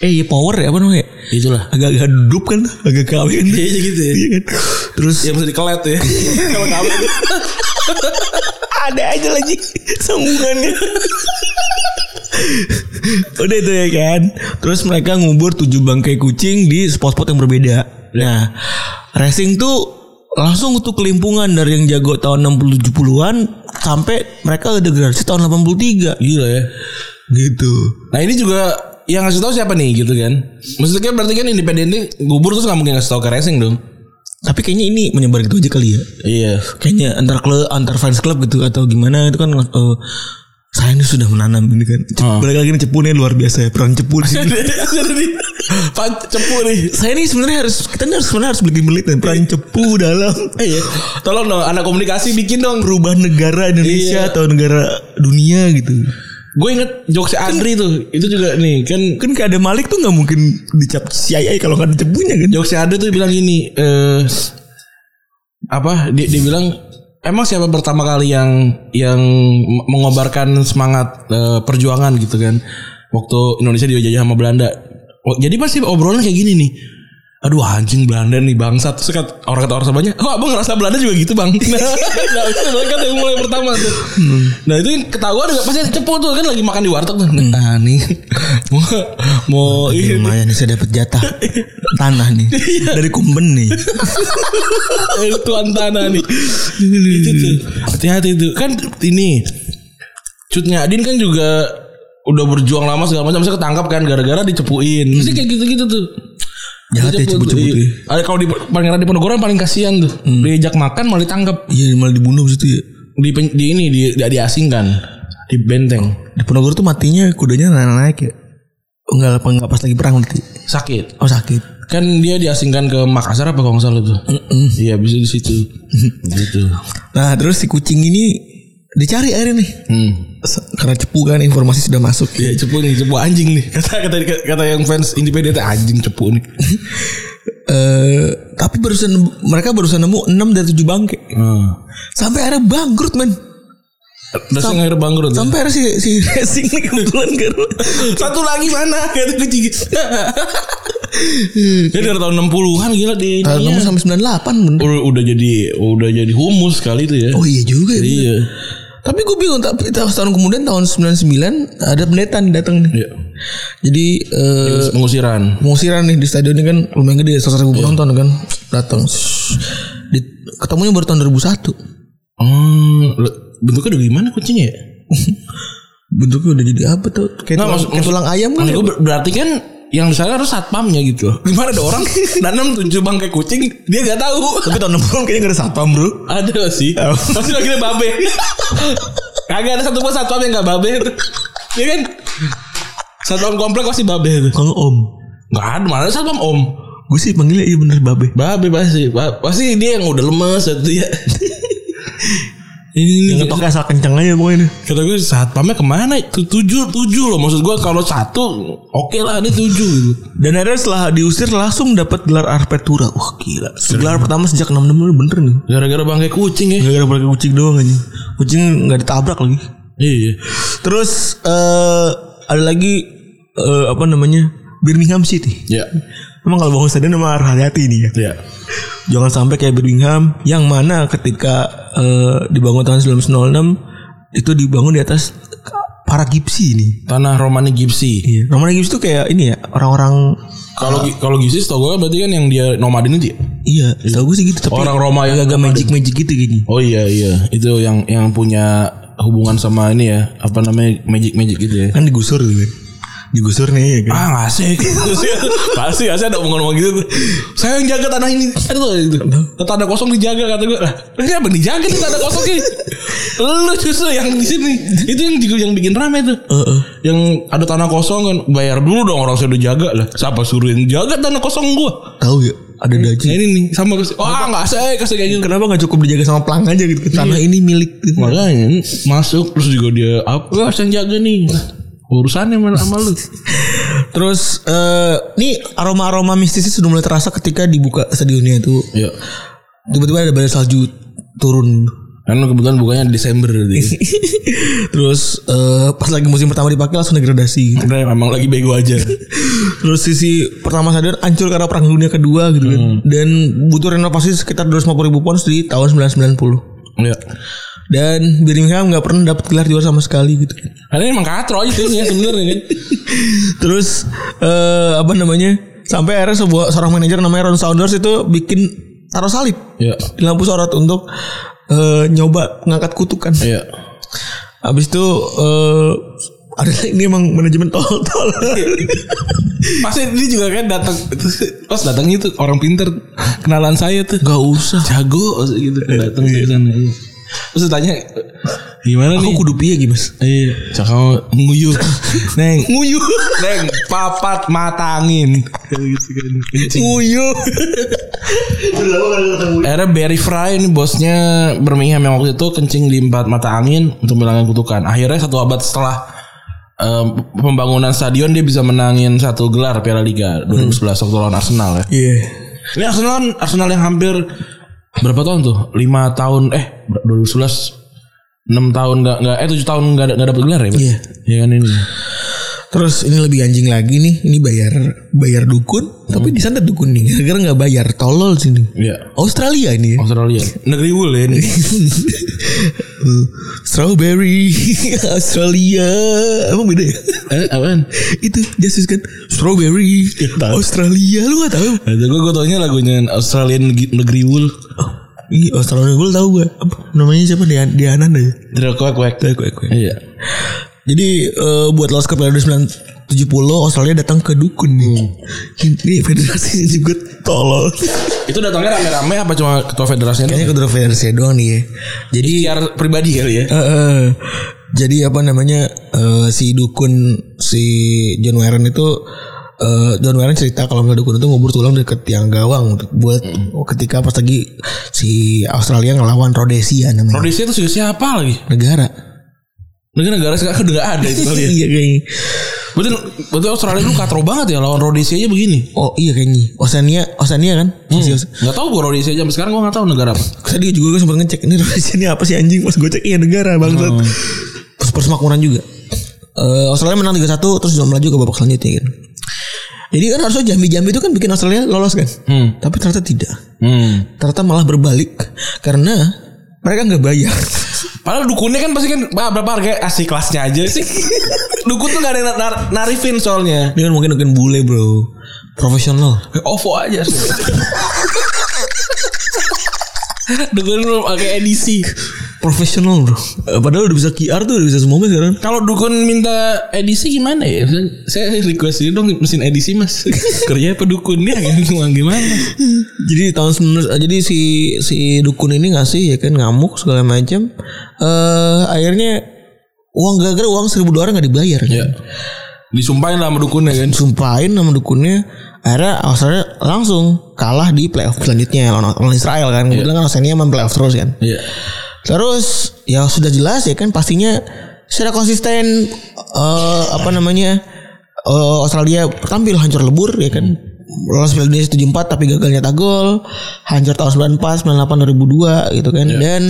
[SPEAKER 3] eh iya, power ya apa namanya
[SPEAKER 2] itulah.
[SPEAKER 3] agak-agak dup kan agak kawin
[SPEAKER 2] Iya gitu ya.
[SPEAKER 3] Iya kan? Terus
[SPEAKER 2] Yang bisa dikelet ya. Kalau kamu
[SPEAKER 3] ada aja lagi sambungannya. Udah itu ya kan. Terus mereka ngubur tujuh bangkai kucing di spot-spot yang berbeda. Nah, racing tuh langsung tuh kelimpungan dari yang jago tahun 60 70-an sampai mereka degradasi tahun 83
[SPEAKER 2] Gila ya.
[SPEAKER 3] gitu.
[SPEAKER 2] Nah ini juga yang ngasih tahu siapa nih gitu kan? Maksudnya berarti kan independen ini gugur terus nggak mungkin ngasih tahu ke racing dong?
[SPEAKER 3] Tapi kayaknya ini menyebar gitu aja kali ya.
[SPEAKER 2] Iya.
[SPEAKER 3] Kayaknya antar klub, antar fans club gitu atau gimana itu kan eh, saya ini sudah menanam ini kan. Cep-
[SPEAKER 2] Ah.
[SPEAKER 3] Balik lagi nih cepu nih luar biasa ya peran cepu di sini.
[SPEAKER 2] Pan cepu nih.
[SPEAKER 3] saya ini sebenarnya harus kita ini harus sebenarnya harus bikin belit dan peran cepu dalam
[SPEAKER 2] Iya. Tolong dong anak komunikasi bikin dong.
[SPEAKER 3] perubahan negara
[SPEAKER 2] Iya.
[SPEAKER 3] Indonesia atau negara dunia gitu.
[SPEAKER 2] Gue inget jokes Andri tuh. Itu juga nih kan
[SPEAKER 3] Kan kayak ada Malik tuh nggak mungkin dicap CIA kalau nggak ada cepunya kan.
[SPEAKER 2] jokes Andri tuh bilang gini eh apa dia, dia bilang emang siapa pertama kali yang yang m- mengobarkan semangat eh, perjuangan gitu kan waktu Indonesia dijajah sama Belanda. Wah, Jadi pasti obrolan kayak gini nih. Aduh anjing Belanda nih bangsat. Terus kata- orang kata orang sebanyak, "Oh, Abang ngerasa Belanda juga gitu, Bang." Nah, itu kan kata yang mulai pertama tuh. Nah, itu yang ketahuan nggak pasti cepu tuh kan lagi makan di warteg tuh. Nah, nih mau mau
[SPEAKER 3] Ini
[SPEAKER 2] ini
[SPEAKER 3] Iya, lumayan nih saya dapat jatah tanah nih dari Kumben nih.
[SPEAKER 2] Eh, tuan tanah nih itu tuh hati-hati tuh kan ini Cut Nyadin kan juga udah berjuang lama segala macam saya ketangkap kan gara-gara dicepuin mesti kayak gitu-gitu tuh
[SPEAKER 3] Jahat ya
[SPEAKER 2] Diceput,
[SPEAKER 3] cebut-cebut
[SPEAKER 2] iya.
[SPEAKER 3] ya.
[SPEAKER 2] Ada kalau di Pangeran Diponegoro paling kasihan tuh. Diajak makan malah ditangkap
[SPEAKER 3] Iya malah dibunuh abis itu ya.
[SPEAKER 2] di, pen- di ini di, di diasingkan di benteng
[SPEAKER 3] Di Ponorogo tuh matinya kudanya naik-naik ya. Enggak apa enggak pas lagi perang nanti.
[SPEAKER 2] sakit.
[SPEAKER 3] Oh sakit.
[SPEAKER 2] Kan dia diasingkan ke Makassar apa kalau nggak salah tuh. Iya bisa di situ. gitu.
[SPEAKER 3] Nah terus si kucing ini dicari akhirnya nih.
[SPEAKER 2] Hmm.
[SPEAKER 3] Se- Karena cepu kan informasi sudah masuk.
[SPEAKER 2] Ya cepu nih, cepu anjing nih. Kata kata kata yang fans independen tuh, anjing cepu nih.
[SPEAKER 3] Eh tapi barusan mereka barusan nemu 6 dari 7 bangke.
[SPEAKER 2] Heeh.
[SPEAKER 3] Sampai akhirnya bangkrut men.
[SPEAKER 2] Terus yang akhirnya bangkrut. ya?
[SPEAKER 3] Sampai akhirnya si, si racing ini kebetulan kan. Garuda.
[SPEAKER 2] Satu lagi mana? Kata kucing. Dia dari tahun 60-an gila di
[SPEAKER 3] Tahun
[SPEAKER 2] ininya.
[SPEAKER 3] 6 Nah, sampai 98 men.
[SPEAKER 2] Udah, udah jadi udah jadi humus kali itu ya.
[SPEAKER 3] Oh iya juga ya.
[SPEAKER 2] Iya.
[SPEAKER 3] Tapi gue bingung tapi tahun setahun kemudian tahun 99 ada pendetan datang nih.
[SPEAKER 2] Iya.
[SPEAKER 3] Jadi eh
[SPEAKER 2] Pengusiran.
[SPEAKER 3] pengusiran nih di stadion ini kan lumayan gede 100
[SPEAKER 2] Iya.
[SPEAKER 3] ribu penonton kan datang. Shhh. Di- ketemunya baru tahun 2001.
[SPEAKER 2] Hmm, le- bentuknya udah gimana kucingnya ya?
[SPEAKER 3] Bentuknya udah jadi apa tuh? Kayak,
[SPEAKER 2] Nggak,
[SPEAKER 3] tulang,
[SPEAKER 2] maksud-
[SPEAKER 3] kayak
[SPEAKER 2] maksud-
[SPEAKER 3] tulang ayam kan.
[SPEAKER 2] Maksud gue ber- berarti kan yang di sana harus satpamnya gitu. Gimana ada orang nanam tujuh bangkai kucing, dia gak tahu.
[SPEAKER 3] Tapi tahun 60 kayaknya gak ada satpam bro.
[SPEAKER 2] Ada sih. Pasti lagi ada babe. Kagak ada satu pun satpam yang gak babe. Iya kan? Satpam komplek pasti babe itu.
[SPEAKER 3] Kalau om.
[SPEAKER 2] Gak ada mana ada satpam om.
[SPEAKER 3] Gue sih panggilnya iya bener babe.
[SPEAKER 2] Babe pasti. Ba- Pasti dia yang udah lemes itu ya. Ini ini.
[SPEAKER 3] asal kenceng aja pokoknya.
[SPEAKER 2] Kata gue satpamnya kemana? Tu- Tujuh, tujuh loh. Maksud gue kalau satu oke lah ini tujuh gitu.
[SPEAKER 3] Dan akhirnya setelah diusir langsung dapat gelar arpetura. Wah gila. Gelar pertama sejak 66 ini bener nih.
[SPEAKER 2] Gara-gara bangkai kucing ya.
[SPEAKER 3] Gara-gara pakai kucing doang aja. Kucing nggak ditabrak lagi.
[SPEAKER 2] Iya.
[SPEAKER 3] Terus eh ada lagi eh, apa namanya Birmingham City.
[SPEAKER 2] Ya.
[SPEAKER 3] Emang kalau bangun stadion emang harus hati-hati nih
[SPEAKER 2] Ya.
[SPEAKER 3] ya. Jangan sampai kayak Birmingham yang mana ketika eh, dibangun tahun 1906 itu dibangun di atas eh, para gipsi nih.
[SPEAKER 2] Tanah Romani Gipsi.
[SPEAKER 3] Iya. Romana gipsi itu kayak ini ya orang-orang
[SPEAKER 2] Kalau gi- kalau Gipsi setahu gue berarti kan yang dia nomaden itu ya.
[SPEAKER 3] iya, tahu gue sih gitu tapi
[SPEAKER 2] Orang Roma yang
[SPEAKER 3] agak magic magic gitu gini.
[SPEAKER 2] Oh iya iya itu yang yang punya hubungan sama ini ya apa namanya magic magic gitu ya.
[SPEAKER 3] Kan digusur gitu. kan. Digusur nih ya kan.
[SPEAKER 2] Ah ngasih Pasti ngasih ada omongan omongan gitu tuh. Saya yang jaga tanah ini Ada tuh gitu Tanah kosong dijaga kata gue Lah ini apa dijaga tuh tanah kosongnya Lu justru yang di sini Itu yang juga yang bikin rame tuh
[SPEAKER 3] Heeh.
[SPEAKER 2] Yang ada tanah kosong kan Bayar dulu dong orang saya udah jaga lah Siapa suruh yang jaga tanah kosong gua
[SPEAKER 3] Tahu ya ada
[SPEAKER 2] Nah
[SPEAKER 3] daging.
[SPEAKER 2] ini nih sama kasih Oh ah, nggak saya kasih kayak gitu
[SPEAKER 3] Kenapa nggak cukup dijaga sama pelang aja gitu? Tanah ini milik. gitu.
[SPEAKER 2] Makanya masuk terus juga dia apa "Wah, harus yang jaga nih. Urusannya sama, sama lu.
[SPEAKER 3] Terus eh nih aroma-aroma mistisnya sudah mulai terasa ketika dibuka stadionnya itu.
[SPEAKER 2] Ya.
[SPEAKER 3] Tiba-tiba ada badai salju turun.
[SPEAKER 2] Kan kebetulan bukanya Desember gitu. tadi.
[SPEAKER 3] Terus eh pas lagi musim pertama dipakai langsung degradasi gitu.
[SPEAKER 2] Karena emang lagi bego aja.
[SPEAKER 3] Terus sisi pertama stadion hancur karena perang dunia kedua gitu kan.
[SPEAKER 2] Hmm.
[SPEAKER 3] Dan butuh renovasi sekitar 250 ribu pounds di tahun 1990.
[SPEAKER 2] Ya.
[SPEAKER 3] Dan Birmingham nggak pernah dapat gelar juara sama sekali gitu kan.
[SPEAKER 2] Karena emang katro aja sih ya sebenarnya kan.
[SPEAKER 3] Terus eh apa namanya? Sampai akhirnya sebuah seorang manajer namanya Ron Saunders itu bikin taruh salib
[SPEAKER 2] Iya.
[SPEAKER 3] di lampu sorot untuk eh, nyoba ngangkat kutukan.
[SPEAKER 2] Iya.
[SPEAKER 3] Habis itu eh ada ini emang manajemen tol-tol.
[SPEAKER 2] Pasti dia juga kan datang pas datang itu orang pinter kenalan saya tuh.
[SPEAKER 3] Gak usah.
[SPEAKER 2] Jago gitu datang dari sana. iya. Terus ditanya gimana nih?
[SPEAKER 3] Aku kudu piye gitu mas?
[SPEAKER 2] Iya, cakau nguyu. Neng, nguyu. Neng, papat matangin.
[SPEAKER 3] Nguyuh.
[SPEAKER 2] Akhirnya Barry Fry ini bosnya Birmingham yang waktu itu kencing di empat mata angin untuk menangin kutukan. Akhirnya satu abad setelah em, pembangunan stadion dia bisa menangin satu gelar Piala Liga 2011 waktu lawan Arsenal ya.
[SPEAKER 3] Iya.
[SPEAKER 2] Ini Arsenal kan Arsenal yang hampir berapa tahun tuh? 5 tahun eh 2011 6 tahun nggak nggak eh 7 tahun nggak nggak dapet gelar ya. Bang?
[SPEAKER 3] Iya.
[SPEAKER 2] Iya kan ini.
[SPEAKER 3] Terus ini lebih anjing lagi nih. Ini bayar bayar dukun. Tapi disantet dukun nih. Gara-gara gak bayar. Tolol sini.
[SPEAKER 2] Iya.
[SPEAKER 3] Australia ini. ya.
[SPEAKER 2] Australia. Negeri wool ya ini.
[SPEAKER 3] Strawberry Australia Emang beda ya?
[SPEAKER 2] eh, apaan?
[SPEAKER 3] Itu Justice kan Strawberry Australia Lu gak tau?
[SPEAKER 2] Itu gue gue taunya lagunya Australian Neg- Negeri Wool.
[SPEAKER 3] Iya Australia gue tau gue Apa? Namanya siapa? Dia Diananda ya?
[SPEAKER 2] Drakwa Quack. Iya.
[SPEAKER 3] Jadi eh, buat Los Cup Piala 1970 Australia datang ke dukun nih. Ini federasinya juga tolol.
[SPEAKER 2] Itu datangnya rame-rame apa cuma ketua federasinya?
[SPEAKER 3] Kayaknya kedua federasi doang nih ya. Jadi
[SPEAKER 2] Ikhtiar pribadi kali ya.
[SPEAKER 3] eh, eh, jadi apa namanya eh, si dukun si John Warren itu eh, John Warren cerita kalau misalnya dukun itu ngubur tulang deket yang gawang untuk- buat ketika pas lagi si Australia ngelawan Rhodesia namanya
[SPEAKER 2] Rhodesia itu juga siapa lagi?
[SPEAKER 3] negara.
[SPEAKER 2] Negara-negara sekarang udah gak ada itu kali ya.
[SPEAKER 3] iya kayaknya.
[SPEAKER 2] Berarti, berarti Australia dulu katro banget ya lawan Rhodesia aja begini.
[SPEAKER 3] Oh iya kayaknya. Oceania Oceania kan? Si Aus-
[SPEAKER 2] Gak tau gue Rhodesia aja sampai sekarang gue gak tau negara apa.
[SPEAKER 3] Tadi juga gue sempat ngecek ini Rusia ini apa sih anjing pas gue cek iya negara bangsat. Terus persemakmuran juga. Eh, Australia menang 3-1 terus udah melaju ke babak selanjutnya kan. Jadi kan harusnya Jambi-Jambi itu kan bikin Australia lolos kan.
[SPEAKER 2] Hmm.
[SPEAKER 3] Tapi ternyata tidak.
[SPEAKER 2] Hmm.
[SPEAKER 3] Ternyata malah berbalik karena mereka nggak bayar.
[SPEAKER 2] Padahal dukunnya kan pasti kan "Bah, berapa harga asli kelasnya aja sih. Dukun tuh gak ada yang nar- narifin soalnya.
[SPEAKER 3] Ini kan mungkin mungkin bule bro, profesional.
[SPEAKER 2] OVO aja sih. Dukun belum pakai edisi.
[SPEAKER 3] Profesional bro. Eh, Padahal udah bisa QR tuh udah bisa semuanya sekarang.
[SPEAKER 2] Kalau dukun minta edisi gimana ya? Saya- Saya request ini dong mesin edisi mas. Kerja apa dukun ya? Gimana? gimana?
[SPEAKER 3] Jadi tahun 19 eh, jadi si si dukun ini ngasih ya kan ngamuk segala macam. Eh akhirnya uang gara-gara uang seribu dolar nggak dibayar. kan.
[SPEAKER 2] Ya. Disumpahin lah sama dukunnya kan.
[SPEAKER 3] Disumpahin sama dukunnya akhirnya Australia langsung kalah di playoff selanjutnya lawan, lawan Israel kan. Kebetulan kan Australia main playoff terus kan.
[SPEAKER 2] Iya.
[SPEAKER 3] Terus ya sudah jelas ya kan pastinya secara konsisten eh, apa namanya eh, Australia tampil hancur lebur ya kan. Lolos Piala Dunia 74 tapi gagal nyetak gol. Hancur tahun 94, 98, 2002 gitu kan. Dan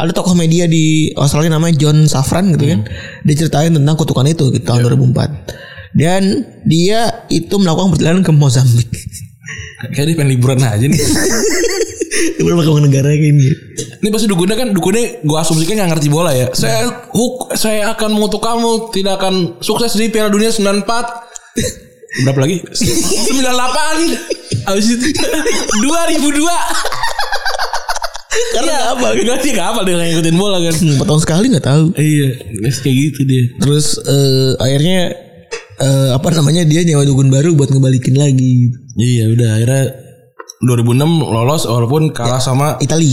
[SPEAKER 3] ada tokoh media di Australia namanya John Safran gitu kan. Dia ceritain tentang kutukan itu gitu tahun 2004. Dan dia itu melakukan perjalanan ke Mozambik.
[SPEAKER 2] Kayaknya dia pengen liburan aja nih.
[SPEAKER 3] Berbagai negara kayak ini.
[SPEAKER 2] Ini pasti dukunnya kan dukunnya gue asumsikan nggak ngerti bola ya. Saya hook, saya akan mengutuk kamu tidak akan sukses di Piala Dunia 94. Berapa lagi? 98. Habis itu 2002. Iya,
[SPEAKER 3] Karena nggak apa?
[SPEAKER 2] Nggak dia nggak apa dia nggak ngikutin bola kan.
[SPEAKER 3] Empat tahun sekali nggak tahu.
[SPEAKER 2] Iya, guys, kayak gitu dia.
[SPEAKER 3] Terus eh, akhirnya eh, apa namanya dia nyewa dukun baru buat ngebalikin lagi
[SPEAKER 2] Iya, udah akhirnya 2006 lolos walaupun kalah sama
[SPEAKER 3] Itali.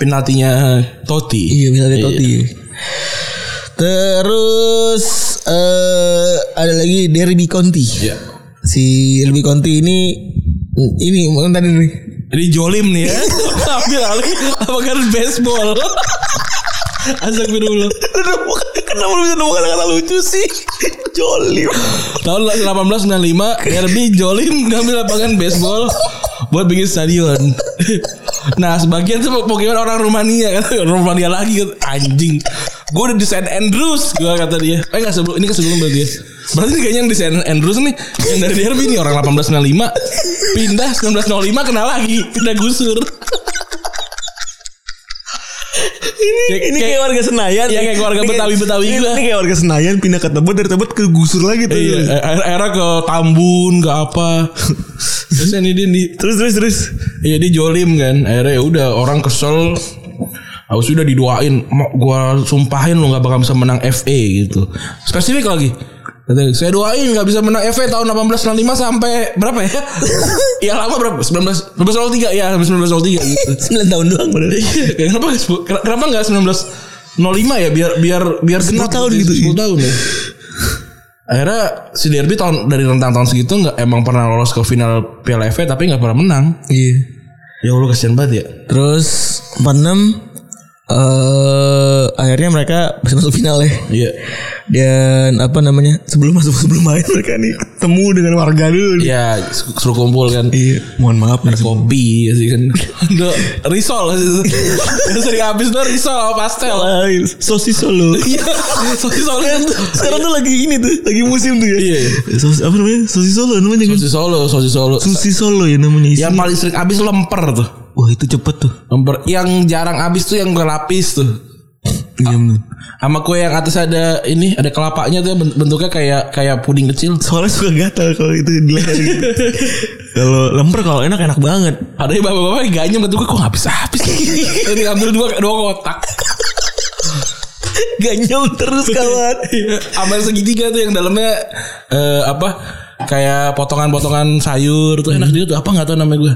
[SPEAKER 2] penaltinya Totti.
[SPEAKER 3] Iya misalnya Totti. Terus eh ada lagi Derby Conti.
[SPEAKER 2] Iya.
[SPEAKER 3] Si Derby Conti ini ini mungkin tadi nih.
[SPEAKER 2] Ini jolim nih ya. Ambil alih apa kan baseball. Astagfirullah.
[SPEAKER 3] Kenapa lu Kan bisa nemu kata-kata lucu sih? Jolim.
[SPEAKER 2] Tahun 1895 Derby Jolim ngambil lapangan baseball buat bikin stadion. Nah sebagian tuh Pokemon orang Rumania kan Rumania lagi kan anjing. Gue udah di St. Andrews gue kata dia. Eh nggak sebelum ini kan sebelum berarti ya. Berarti ini kayaknya yang di St. Andrews nih yang dari Derby nih orang 1895 pindah 1905 kena lagi pindah gusur.
[SPEAKER 3] ini
[SPEAKER 2] Ya,
[SPEAKER 3] ini kayak
[SPEAKER 2] kayak-
[SPEAKER 3] warga Senayan.
[SPEAKER 2] ya, kayak warga
[SPEAKER 3] Ini Iya, kayak-
[SPEAKER 2] Betawi-Betawi
[SPEAKER 3] ini-
[SPEAKER 2] gila.
[SPEAKER 3] Ini kayak warga Senayan pindah ke Tebet dari Tebet ke Gusur lagi tuh.
[SPEAKER 2] Iya, akhir- akhirnya ke Tambun, ke apa. Terus ini dia di
[SPEAKER 3] Terus terus terus.
[SPEAKER 2] Iya dia jolim kan Akhirnya ya udah orang kesel Harus udah didoain "Mak, Gua sumpahin lu gak bakal bisa menang FA gitu Spesifik lagi Katanya, saya doain gak bisa menang FA tahun 1895 sampai berapa ya? ya lama berapa? 19 1903 ya sampai 1903 gitu.
[SPEAKER 3] 9 tahun doang bener.
[SPEAKER 2] Ya, kenapa nggak sepu- ken- kenapa nggak 1905 ya biar biar biar
[SPEAKER 3] 10
[SPEAKER 2] genap
[SPEAKER 3] tahun gitu.
[SPEAKER 2] 10 tahun ya. Akhirnya si Derby tahun dari rentang tahun segitu nggak emang pernah lolos ke final Piala FA tapi nggak pernah menang.
[SPEAKER 3] Iya.
[SPEAKER 2] Ya Allah kasihan banget ya.
[SPEAKER 3] Terus 46 eh akhirnya mereka bisa masuk final ya.
[SPEAKER 2] Iya.
[SPEAKER 3] Dan apa namanya? Sebelum masuk sebelum main mereka nih ketemu dengan warga dulu.
[SPEAKER 2] Ya su- suruh kumpul kan.
[SPEAKER 3] Iya, mohon maaf nih.
[SPEAKER 2] Kopi ya sih kan. Ada risol Yang sering habis tuh risol sama pastel.
[SPEAKER 3] Lain, sosis solo.
[SPEAKER 2] Iya. Sosis solo itu.
[SPEAKER 3] Sekarang tuh lagi ini tuh, lagi musim tuh ya.
[SPEAKER 2] Iya.
[SPEAKER 3] Sosis apa namanya? Sosis solo namanya kan?
[SPEAKER 2] Sosis solo, sosis solo.
[SPEAKER 3] Sosis solo ya namanya.
[SPEAKER 2] Yang paling sering habis lemper tuh.
[SPEAKER 3] Wah, itu cepet tuh.
[SPEAKER 2] Lemper yang jarang habis tuh yang berlapis tuh.
[SPEAKER 3] Iya, bener.
[SPEAKER 2] Sama kue yang atas ada ini ada kelapanya tuh bent- bentuknya kayak kayak puding kecil.
[SPEAKER 3] Soalnya suka gatal kalau itu di leher gitu. kalau lemper kalau enak enak banget.
[SPEAKER 2] Ada yang bapak-bapak ganyem ketukar kok habis habis. Ini ambil dua dua kotak.
[SPEAKER 3] Ganyol terus kawan.
[SPEAKER 2] Ambil segitiga tuh yang dalamnya eh, apa kayak potongan-potongan sayur tuh enak juga tuh apa nggak tahu namanya gue.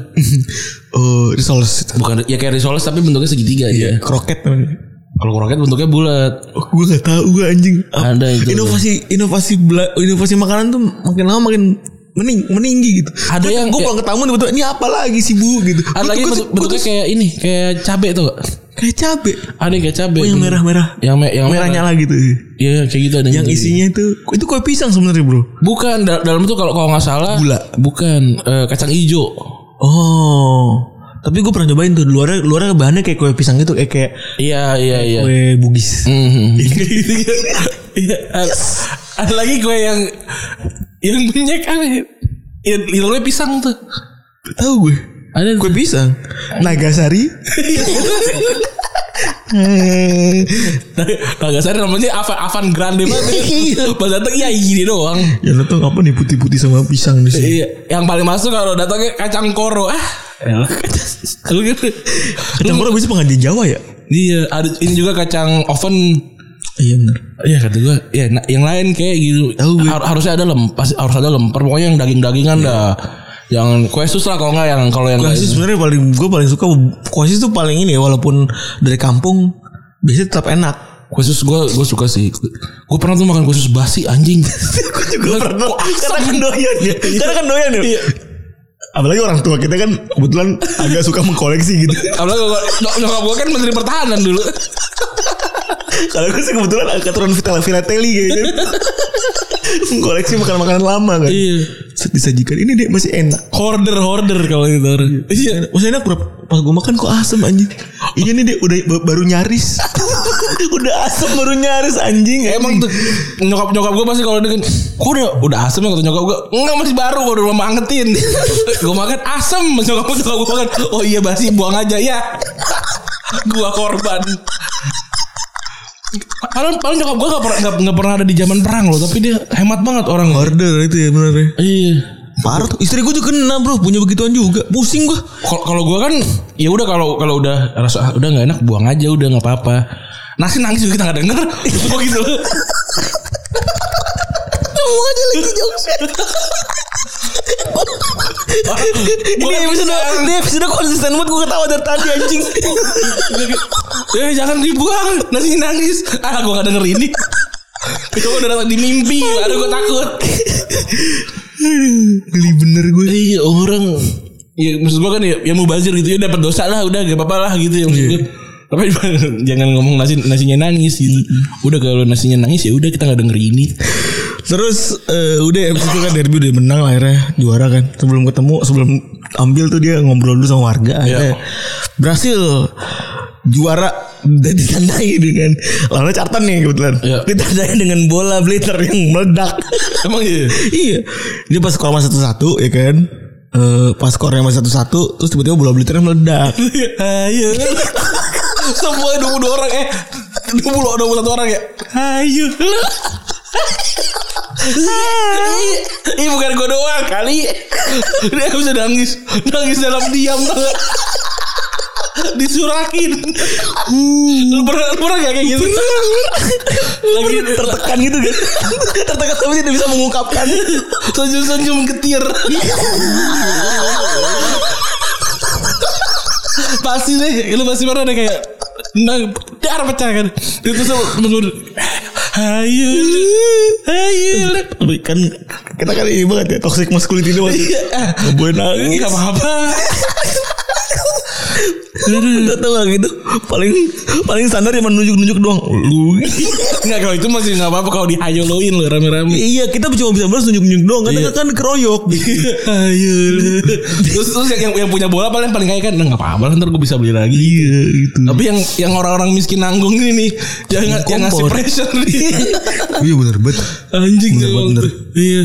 [SPEAKER 3] oh, risoles.
[SPEAKER 2] Bukan ya kayak risoles tapi bentuknya segitiga ya.
[SPEAKER 3] Kroket namanya.
[SPEAKER 2] Kalau kroket bentuknya bulat.
[SPEAKER 3] Oh, gue gak tahu gue anjing. Apa-
[SPEAKER 2] Ada itu.
[SPEAKER 3] Inovasi inovasi bela- inovasi makanan tuh makin lama makin mening meninggi gitu.
[SPEAKER 2] Ada yang-
[SPEAKER 3] gue pulang ke tamu tiba-tiba ini apa lagi sih bu gitu.
[SPEAKER 2] Ada
[SPEAKER 3] Gua
[SPEAKER 2] lagi
[SPEAKER 3] tuh-
[SPEAKER 2] bentuk-
[SPEAKER 3] gua tuh- gua
[SPEAKER 2] bentuknya
[SPEAKER 3] tuh
[SPEAKER 2] kayak ini kayak cabe tuh. nggak?
[SPEAKER 3] kayak cabe.
[SPEAKER 2] Ada yang kayak cabe.
[SPEAKER 3] Oh, yang merah-merah.
[SPEAKER 2] Yang me- yang
[SPEAKER 3] merahnya
[SPEAKER 2] merah.
[SPEAKER 3] lagi tuh.
[SPEAKER 2] Iya kayak gitu ada
[SPEAKER 3] Yang
[SPEAKER 2] gitu.
[SPEAKER 3] isinya itu itu kue pisang sebenarnya bro.
[SPEAKER 2] Bukan dal- dalam itu kalau kalau nggak salah
[SPEAKER 3] Gula.
[SPEAKER 2] Bukan eh, kacang hijau.
[SPEAKER 3] Oh. Tapi gue pernah cobain tuh luarnya luarnya bahannya kayak kue pisang gitu eh kayak
[SPEAKER 2] Iya iya iya.
[SPEAKER 3] kue bugis.
[SPEAKER 2] Mhm. Iya. Ada- Ada lagi kue yang yang banyak apa ya? Ya, literally pisang tuh.
[SPEAKER 3] Tahu gue.
[SPEAKER 2] Ada
[SPEAKER 3] Kue pisang. Nagasari.
[SPEAKER 2] Naga Sari namanya Avan Avan Grande banget. ya. Pas datang iya gini doang.
[SPEAKER 3] Yang datang Ya, apa nih putih-putih sama pisang di sini.
[SPEAKER 2] Iya, yang paling masuk kalau datangnya kacang koro. Ah, elah. Lu gitu.
[SPEAKER 3] Kacang koro bisa pengajian Jawa ya?
[SPEAKER 2] Iya, ada ini juga kacang oven.
[SPEAKER 3] Iya benar.
[SPEAKER 2] Iya kata gue, ya na- yang lain kayak gitu.
[SPEAKER 3] Tahu gue.
[SPEAKER 2] Har- harusnya ada lem, pasti harus ada lemper. Pokoknya yang daging-dagingan dah. Yang kue sus lah kalau enggak yang kalau yang
[SPEAKER 3] Kuasis
[SPEAKER 2] lain.
[SPEAKER 3] sebenarnya paling gue paling suka kuasis tuh paling ini ya walaupun dari kampung biasanya tetap enak.
[SPEAKER 2] Kue sus gue gue suka sih. Gue pernah tuh makan kue sus basi anjing.
[SPEAKER 3] gue juga pernah.
[SPEAKER 2] kok asem?
[SPEAKER 3] Karena kan doyan ya. Karena kan doyan ya.
[SPEAKER 2] Iya.
[SPEAKER 3] Apalagi orang tua kita kan kebetulan agak suka mengkoleksi gitu.
[SPEAKER 2] Apalagi gue nyokap gue kan menteri pertahanan dulu.
[SPEAKER 3] Kalau gue sih kebetulan agak turun Vitala Filateli kayaknya. Mengkoleksi makanan-makanan lama kan.
[SPEAKER 2] Iya.
[SPEAKER 3] Set disajikan ini deh masih enak.
[SPEAKER 2] Hoarder hoarder kalau gitu. Iya.
[SPEAKER 3] Masih enak bro. Pas gue makan kok asem anjing. Iya nih deh udah ba- baru nyaris. udah asem baru nyaris anjing.
[SPEAKER 2] Emang tuh nyokap nyokap gue pasti kalau dengan kok udah udah asem ya kata nyokap gue enggak masih baru baru rumah angetin gue makan asem nyokap gue nyokap gue makan oh iya basi buang aja ya gua korban Padahal, padahal nyokap gue gak pernah nggak- nggak pernah ada di zaman perang loh tapi dia hemat banget orang
[SPEAKER 3] order itu ya benar ya.
[SPEAKER 2] iya
[SPEAKER 3] Parah tuh. Istri gue juga kena bro punya begituan juga. Pusing gue.
[SPEAKER 2] kalau kalau gue kan ya udah kalau kalau udah rasa ah, udah nggak enak buang aja udah nggak apa-apa nasi nangis juga kita nggak denger Kok gitu loh
[SPEAKER 3] Kamu aja lagi jokes.
[SPEAKER 2] kan
[SPEAKER 3] ini episode ini episode konsisten banget gue ketawa dari tadi anjing.
[SPEAKER 2] Eh jangan dibuang Nasi nangis Ah gue gak denger ini Itu udah datang di mimpi Aduh gue takut
[SPEAKER 3] Geli bener gue.
[SPEAKER 2] Iya orang Ya maksud gue kan ya, ya mau bazir gitu ya dapat dosa lah udah gak apa-apa lah gitu ya maksud gue. Tapi jangan ngomong nasi nasinya nangis gitu. Udah kalau nasinya nangis ya udah kita nggak denger ini.
[SPEAKER 3] Terus eh, udah abis itu kan derby udah menang lah akhirnya juara kan. Sebelum ketemu sebelum ambil tuh dia ngobrol dulu sama warga akhirnya berhasil juara dan ditandai dengan lawannya Carton nih kebetulan.
[SPEAKER 2] Iya.
[SPEAKER 3] Ditandai dengan bola blitter yang meledak.
[SPEAKER 2] Emang iya.
[SPEAKER 3] iya. Dia pas skor masih satu-satu ya kan. Eh pas skornya masih satu-satu terus tiba-tiba bola blitternya meledak.
[SPEAKER 2] Ayo. Semua 22 orang eh 20 21 orang ya. Ayo. Ih bukan gue doang kali Dia bisa nangis Nangis dalam diam tau nggak? Disurakin Lu pernah, lu pernah gak kayak gitu? Lagi
[SPEAKER 3] tertekan gitu kan tertekan tapi tidak bisa mengungkapkan
[SPEAKER 2] Senyum-senyum getir Pasti deh Lu pasti pernah deh kayak Nah, dar pecah kan Itu sama menurut Ayo Ayo
[SPEAKER 3] tapi kan kita kan ini banget ya toxic masculinity itu
[SPEAKER 2] Iya.
[SPEAKER 3] maksudnya Nggak boleh
[SPEAKER 2] Gak
[SPEAKER 3] nangis
[SPEAKER 2] Eh, apa-apa
[SPEAKER 3] Kita tuh nggak gitu paling paling standar yang menunjuk nunjuk doang lu
[SPEAKER 2] Enggak kalau itu masih nggak apa-apa kalau dihayoloin loh rame-rame.
[SPEAKER 3] iya kita cuma bisa beres nunjuk nunjuk doang karena kan keroyok Oh,
[SPEAKER 2] Ayo. terus terus yang, yang punya bola paling paling kaya kan nggak apa-apa lah, ntar gue bisa beli lagi.
[SPEAKER 3] iya gitu
[SPEAKER 2] Tapi yang yang orang-orang miskin nanggung ini nih jangan yang ngasih
[SPEAKER 3] Kompor.
[SPEAKER 2] pressure nih.
[SPEAKER 3] iya benar banget
[SPEAKER 2] Anjing
[SPEAKER 3] Bener,
[SPEAKER 2] emang.
[SPEAKER 3] bener.
[SPEAKER 2] Iya.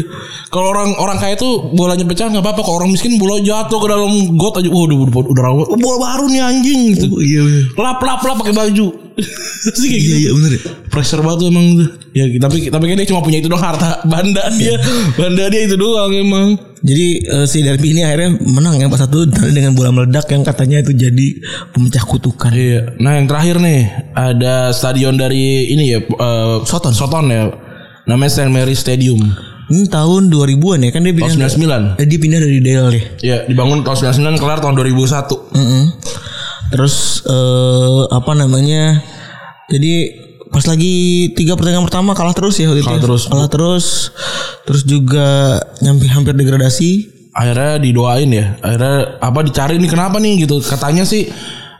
[SPEAKER 2] Kalau orang orang kaya tuh bolanya pecah nggak apa-apa. Kalau orang miskin bola jatuh ke dalam got aja. Waduh udah udah rawat. Oh, bola baru nih anjing gitu.
[SPEAKER 3] iya bener.
[SPEAKER 2] Lap lap lap pakai baju. Terus kayak
[SPEAKER 3] iya
[SPEAKER 2] gitu.
[SPEAKER 3] iya benar ya
[SPEAKER 2] pressure banget tuh emang tuh. Iya. Ya tapi tapi kan dia cuma punya itu doang harta banda dia. banda dia itu doang emang.
[SPEAKER 3] Jadi eh, si Derby ini akhirnya menang yang pas satu dengan bola meledak yang katanya itu jadi pemecah kutukan.
[SPEAKER 2] Iya. Nah yang terakhir nih ada stadion dari ini ya eh,
[SPEAKER 3] Soton.
[SPEAKER 2] Soton ya. Namanya St Mary Stadium.
[SPEAKER 3] Ini tahun 2000-an ya kan dia pindah
[SPEAKER 2] Tahun 99.
[SPEAKER 3] Eh, dia pindah dari Dell ya.
[SPEAKER 2] Ya dibangun tahun 99 kelar tahun 2001.
[SPEAKER 3] Mm-mm. Terus eh, apa namanya? Jadi pas lagi tiga pertandingan pertama kalah terus ya waktu itu
[SPEAKER 2] Kalah
[SPEAKER 3] ya?
[SPEAKER 2] terus.
[SPEAKER 3] kalah terus terus juga nyampe hampir degradasi
[SPEAKER 2] Akhirnya didoain ya. Akhirnya apa dicari nih kenapa nih gitu. Katanya sih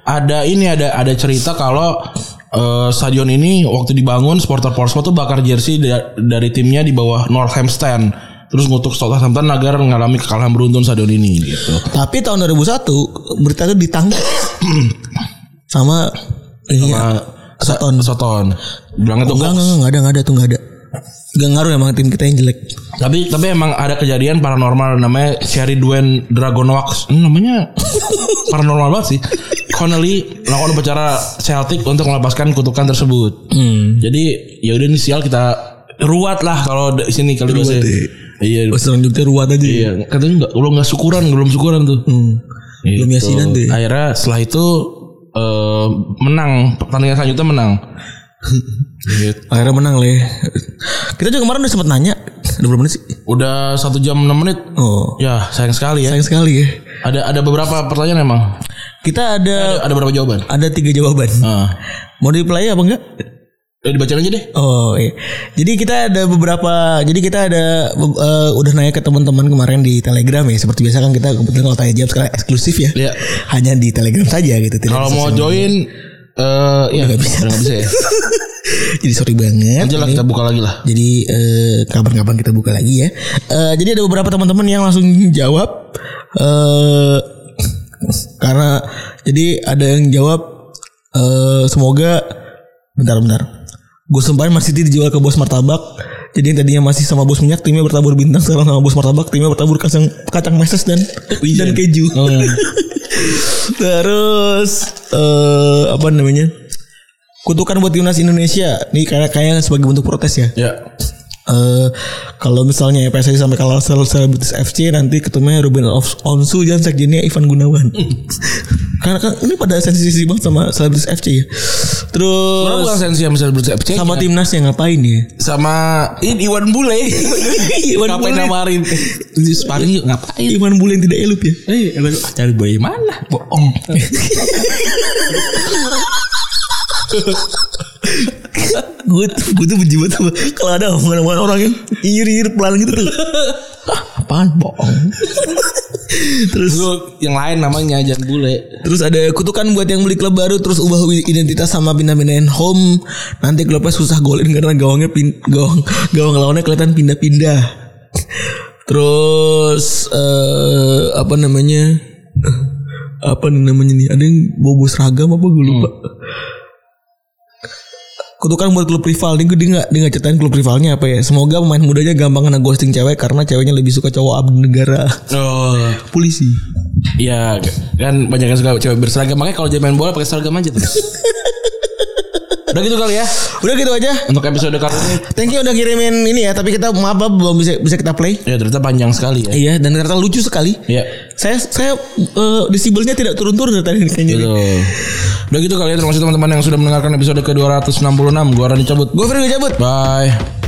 [SPEAKER 2] ada ini ada ada cerita kalau eh, stadion ini waktu dibangun supporter Portsmouth tuh bakar jersey da- dari timnya di bawah Northampton. Terus ngutuk Southampton agar mengalami kekalahan beruntun stadion ini gitu.
[SPEAKER 3] tapi tahun 2001 berita itu ditangkap sama ini ya,
[SPEAKER 2] Soton.
[SPEAKER 3] Soton.
[SPEAKER 2] Nah, Soton. Bilangnya tuh
[SPEAKER 3] Enggak, enggak, enggak, enggak ada, enggak ada tuh, enggak ada. Enggak ngaruh emang tim kita yang jelek.
[SPEAKER 2] Tapi tapi emang ada kejadian paranormal namanya Sherry Duen Dragonwax. Hmm, namanya paranormal banget sih. Connelly melakukan upacara Celtic untuk melepaskan kutukan tersebut. Jadi ya udah nih sial kita ruat lah kalau di sini kalau
[SPEAKER 3] Ruat,
[SPEAKER 2] bahasa.
[SPEAKER 3] iya.
[SPEAKER 2] Iya.
[SPEAKER 3] Pas orang Jogja ruat aja.
[SPEAKER 2] Iya, katanya enggak belum enggak syukuran, belum syukuran tuh.
[SPEAKER 3] Hmm.
[SPEAKER 2] Gitu.
[SPEAKER 3] Belum yasinan tuh ya.
[SPEAKER 2] Akhirnya setelah itu eh, menang pertandingan selanjutnya menang. Gitu.
[SPEAKER 3] Akhirnya menang lah ya. Kita juga kemarin udah sempat nanya. Udah berapa menit sih?
[SPEAKER 2] Udah satu jam 6 menit.
[SPEAKER 3] Oh.
[SPEAKER 2] Ya, sayang sekali ya.
[SPEAKER 3] Sayang sekali ya.
[SPEAKER 2] Ada ada beberapa pertanyaan emang. Eh,
[SPEAKER 3] Kita ada
[SPEAKER 2] Ada berapa jawaban?
[SPEAKER 3] ada tiga jawaban.
[SPEAKER 2] Ah.
[SPEAKER 3] Mau di-play apa enggak?
[SPEAKER 2] Udah eh, dibacain aja deh.
[SPEAKER 3] Oh iya. Jadi kita ada beberapa. Jadi kita ada be- eh, udah nanya ke teman-teman kemarin di Telegram ya. Seperti biasa kan kita kebetulan kalau tanya jawab sekarang eksklusif ya.
[SPEAKER 2] Iya.
[SPEAKER 3] Hanya di Telegram saja gitu. Tidak
[SPEAKER 2] Kalau
[SPEAKER 3] di
[SPEAKER 2] mau
[SPEAKER 3] sosial media.
[SPEAKER 2] join eh iya
[SPEAKER 3] nggak bisa.
[SPEAKER 2] Udah nggak bisa ya.
[SPEAKER 3] Jadi sorry banget.
[SPEAKER 2] Aja lah kita buka lagi lah.
[SPEAKER 3] Jadi eh, kapan-kapan kita buka lagi ya. Eh, jadi ada beberapa teman-teman yang langsung jawab eh karena jadi ada yang jawab eh semoga bentar-bentar. Gue sumpahin Mas City dijual ke bos martabak. Jadi yang tadinya masih sama bos minyak timnya bertabur bintang sekarang sama bos martabak timnya bertabur kacang kacang meses dan dan keju.
[SPEAKER 2] Oh. iya.
[SPEAKER 3] Terus eh apa namanya? Kutukan buat timnas Indonesia. Nih kayak kayaknya sebagai bentuk protes ya.
[SPEAKER 2] Ya.
[SPEAKER 3] Eh, kalau misalnya ya, PSSI sampai kalah sel selebritis FC nanti ketemunya Ruben Of- Onsu dan sekjennya Ivan Gunawan. Karena kan ini pada sensitif banget sama selebritis FC ya.
[SPEAKER 2] Orang
[SPEAKER 3] Terus
[SPEAKER 2] bukan sensi yang bisa bercek
[SPEAKER 3] sama timnasnya ngapain ya?
[SPEAKER 2] sama ini Iwan Bule.
[SPEAKER 3] Iwan
[SPEAKER 2] ngapain
[SPEAKER 3] Bule.
[SPEAKER 2] nawarin? Di sparring yuk ngapain?
[SPEAKER 3] Iman Bule yang tidak elup ya.
[SPEAKER 2] Eh, cari boy mana? Bohong.
[SPEAKER 3] gue tuh gue tuh benci banget sama kalau ada omongan-omongan orang yang inyir-inyir pelan gitu tuh. Hah, apaan bohong.
[SPEAKER 2] Terus lu yang lain namanya jangan bule.
[SPEAKER 3] Terus ada kutukan buat yang beli klub baru terus ubah identitas sama pindah-pindahin home. Nanti klubnya susah golin karena gawangnya pin, gawang gawang lawannya kelihatan pindah-pindah. Terus eh apa namanya? Apa namanya nih? Ada yang bobo seragam apa gue lupa. Kutukan buat klub rival nih gue dia nggak dia nggak ceritain klub rivalnya apa ya. Semoga pemain mudanya gampang kena ghosting cewek karena ceweknya lebih suka cowok abdi negara
[SPEAKER 2] Oh.
[SPEAKER 3] polisi.
[SPEAKER 2] Ya kan banyak yang suka cewek berseragam Makanya kalau dia main bola pakai seragam aja terus Udah gitu kali ya
[SPEAKER 3] Udah gitu aja.
[SPEAKER 2] Untuk episode kali ini
[SPEAKER 3] Thank you udah kirimin ini ya, tapi kita maaf Bab, belum bisa bisa kita play.
[SPEAKER 2] Ya ternyata panjang sekali ya
[SPEAKER 3] Iya, dan ternyata lucu sekali.
[SPEAKER 2] Iya
[SPEAKER 3] Saya saya eh, desibelnya tidak turun-turun dari tadi kayaknya.
[SPEAKER 2] gitu Udah gitu kali ya Terima kasih teman-teman yang sudah mendengarkan episode ke-266 Gua Rani cabut
[SPEAKER 3] Gue Ferry cabut.
[SPEAKER 2] Bye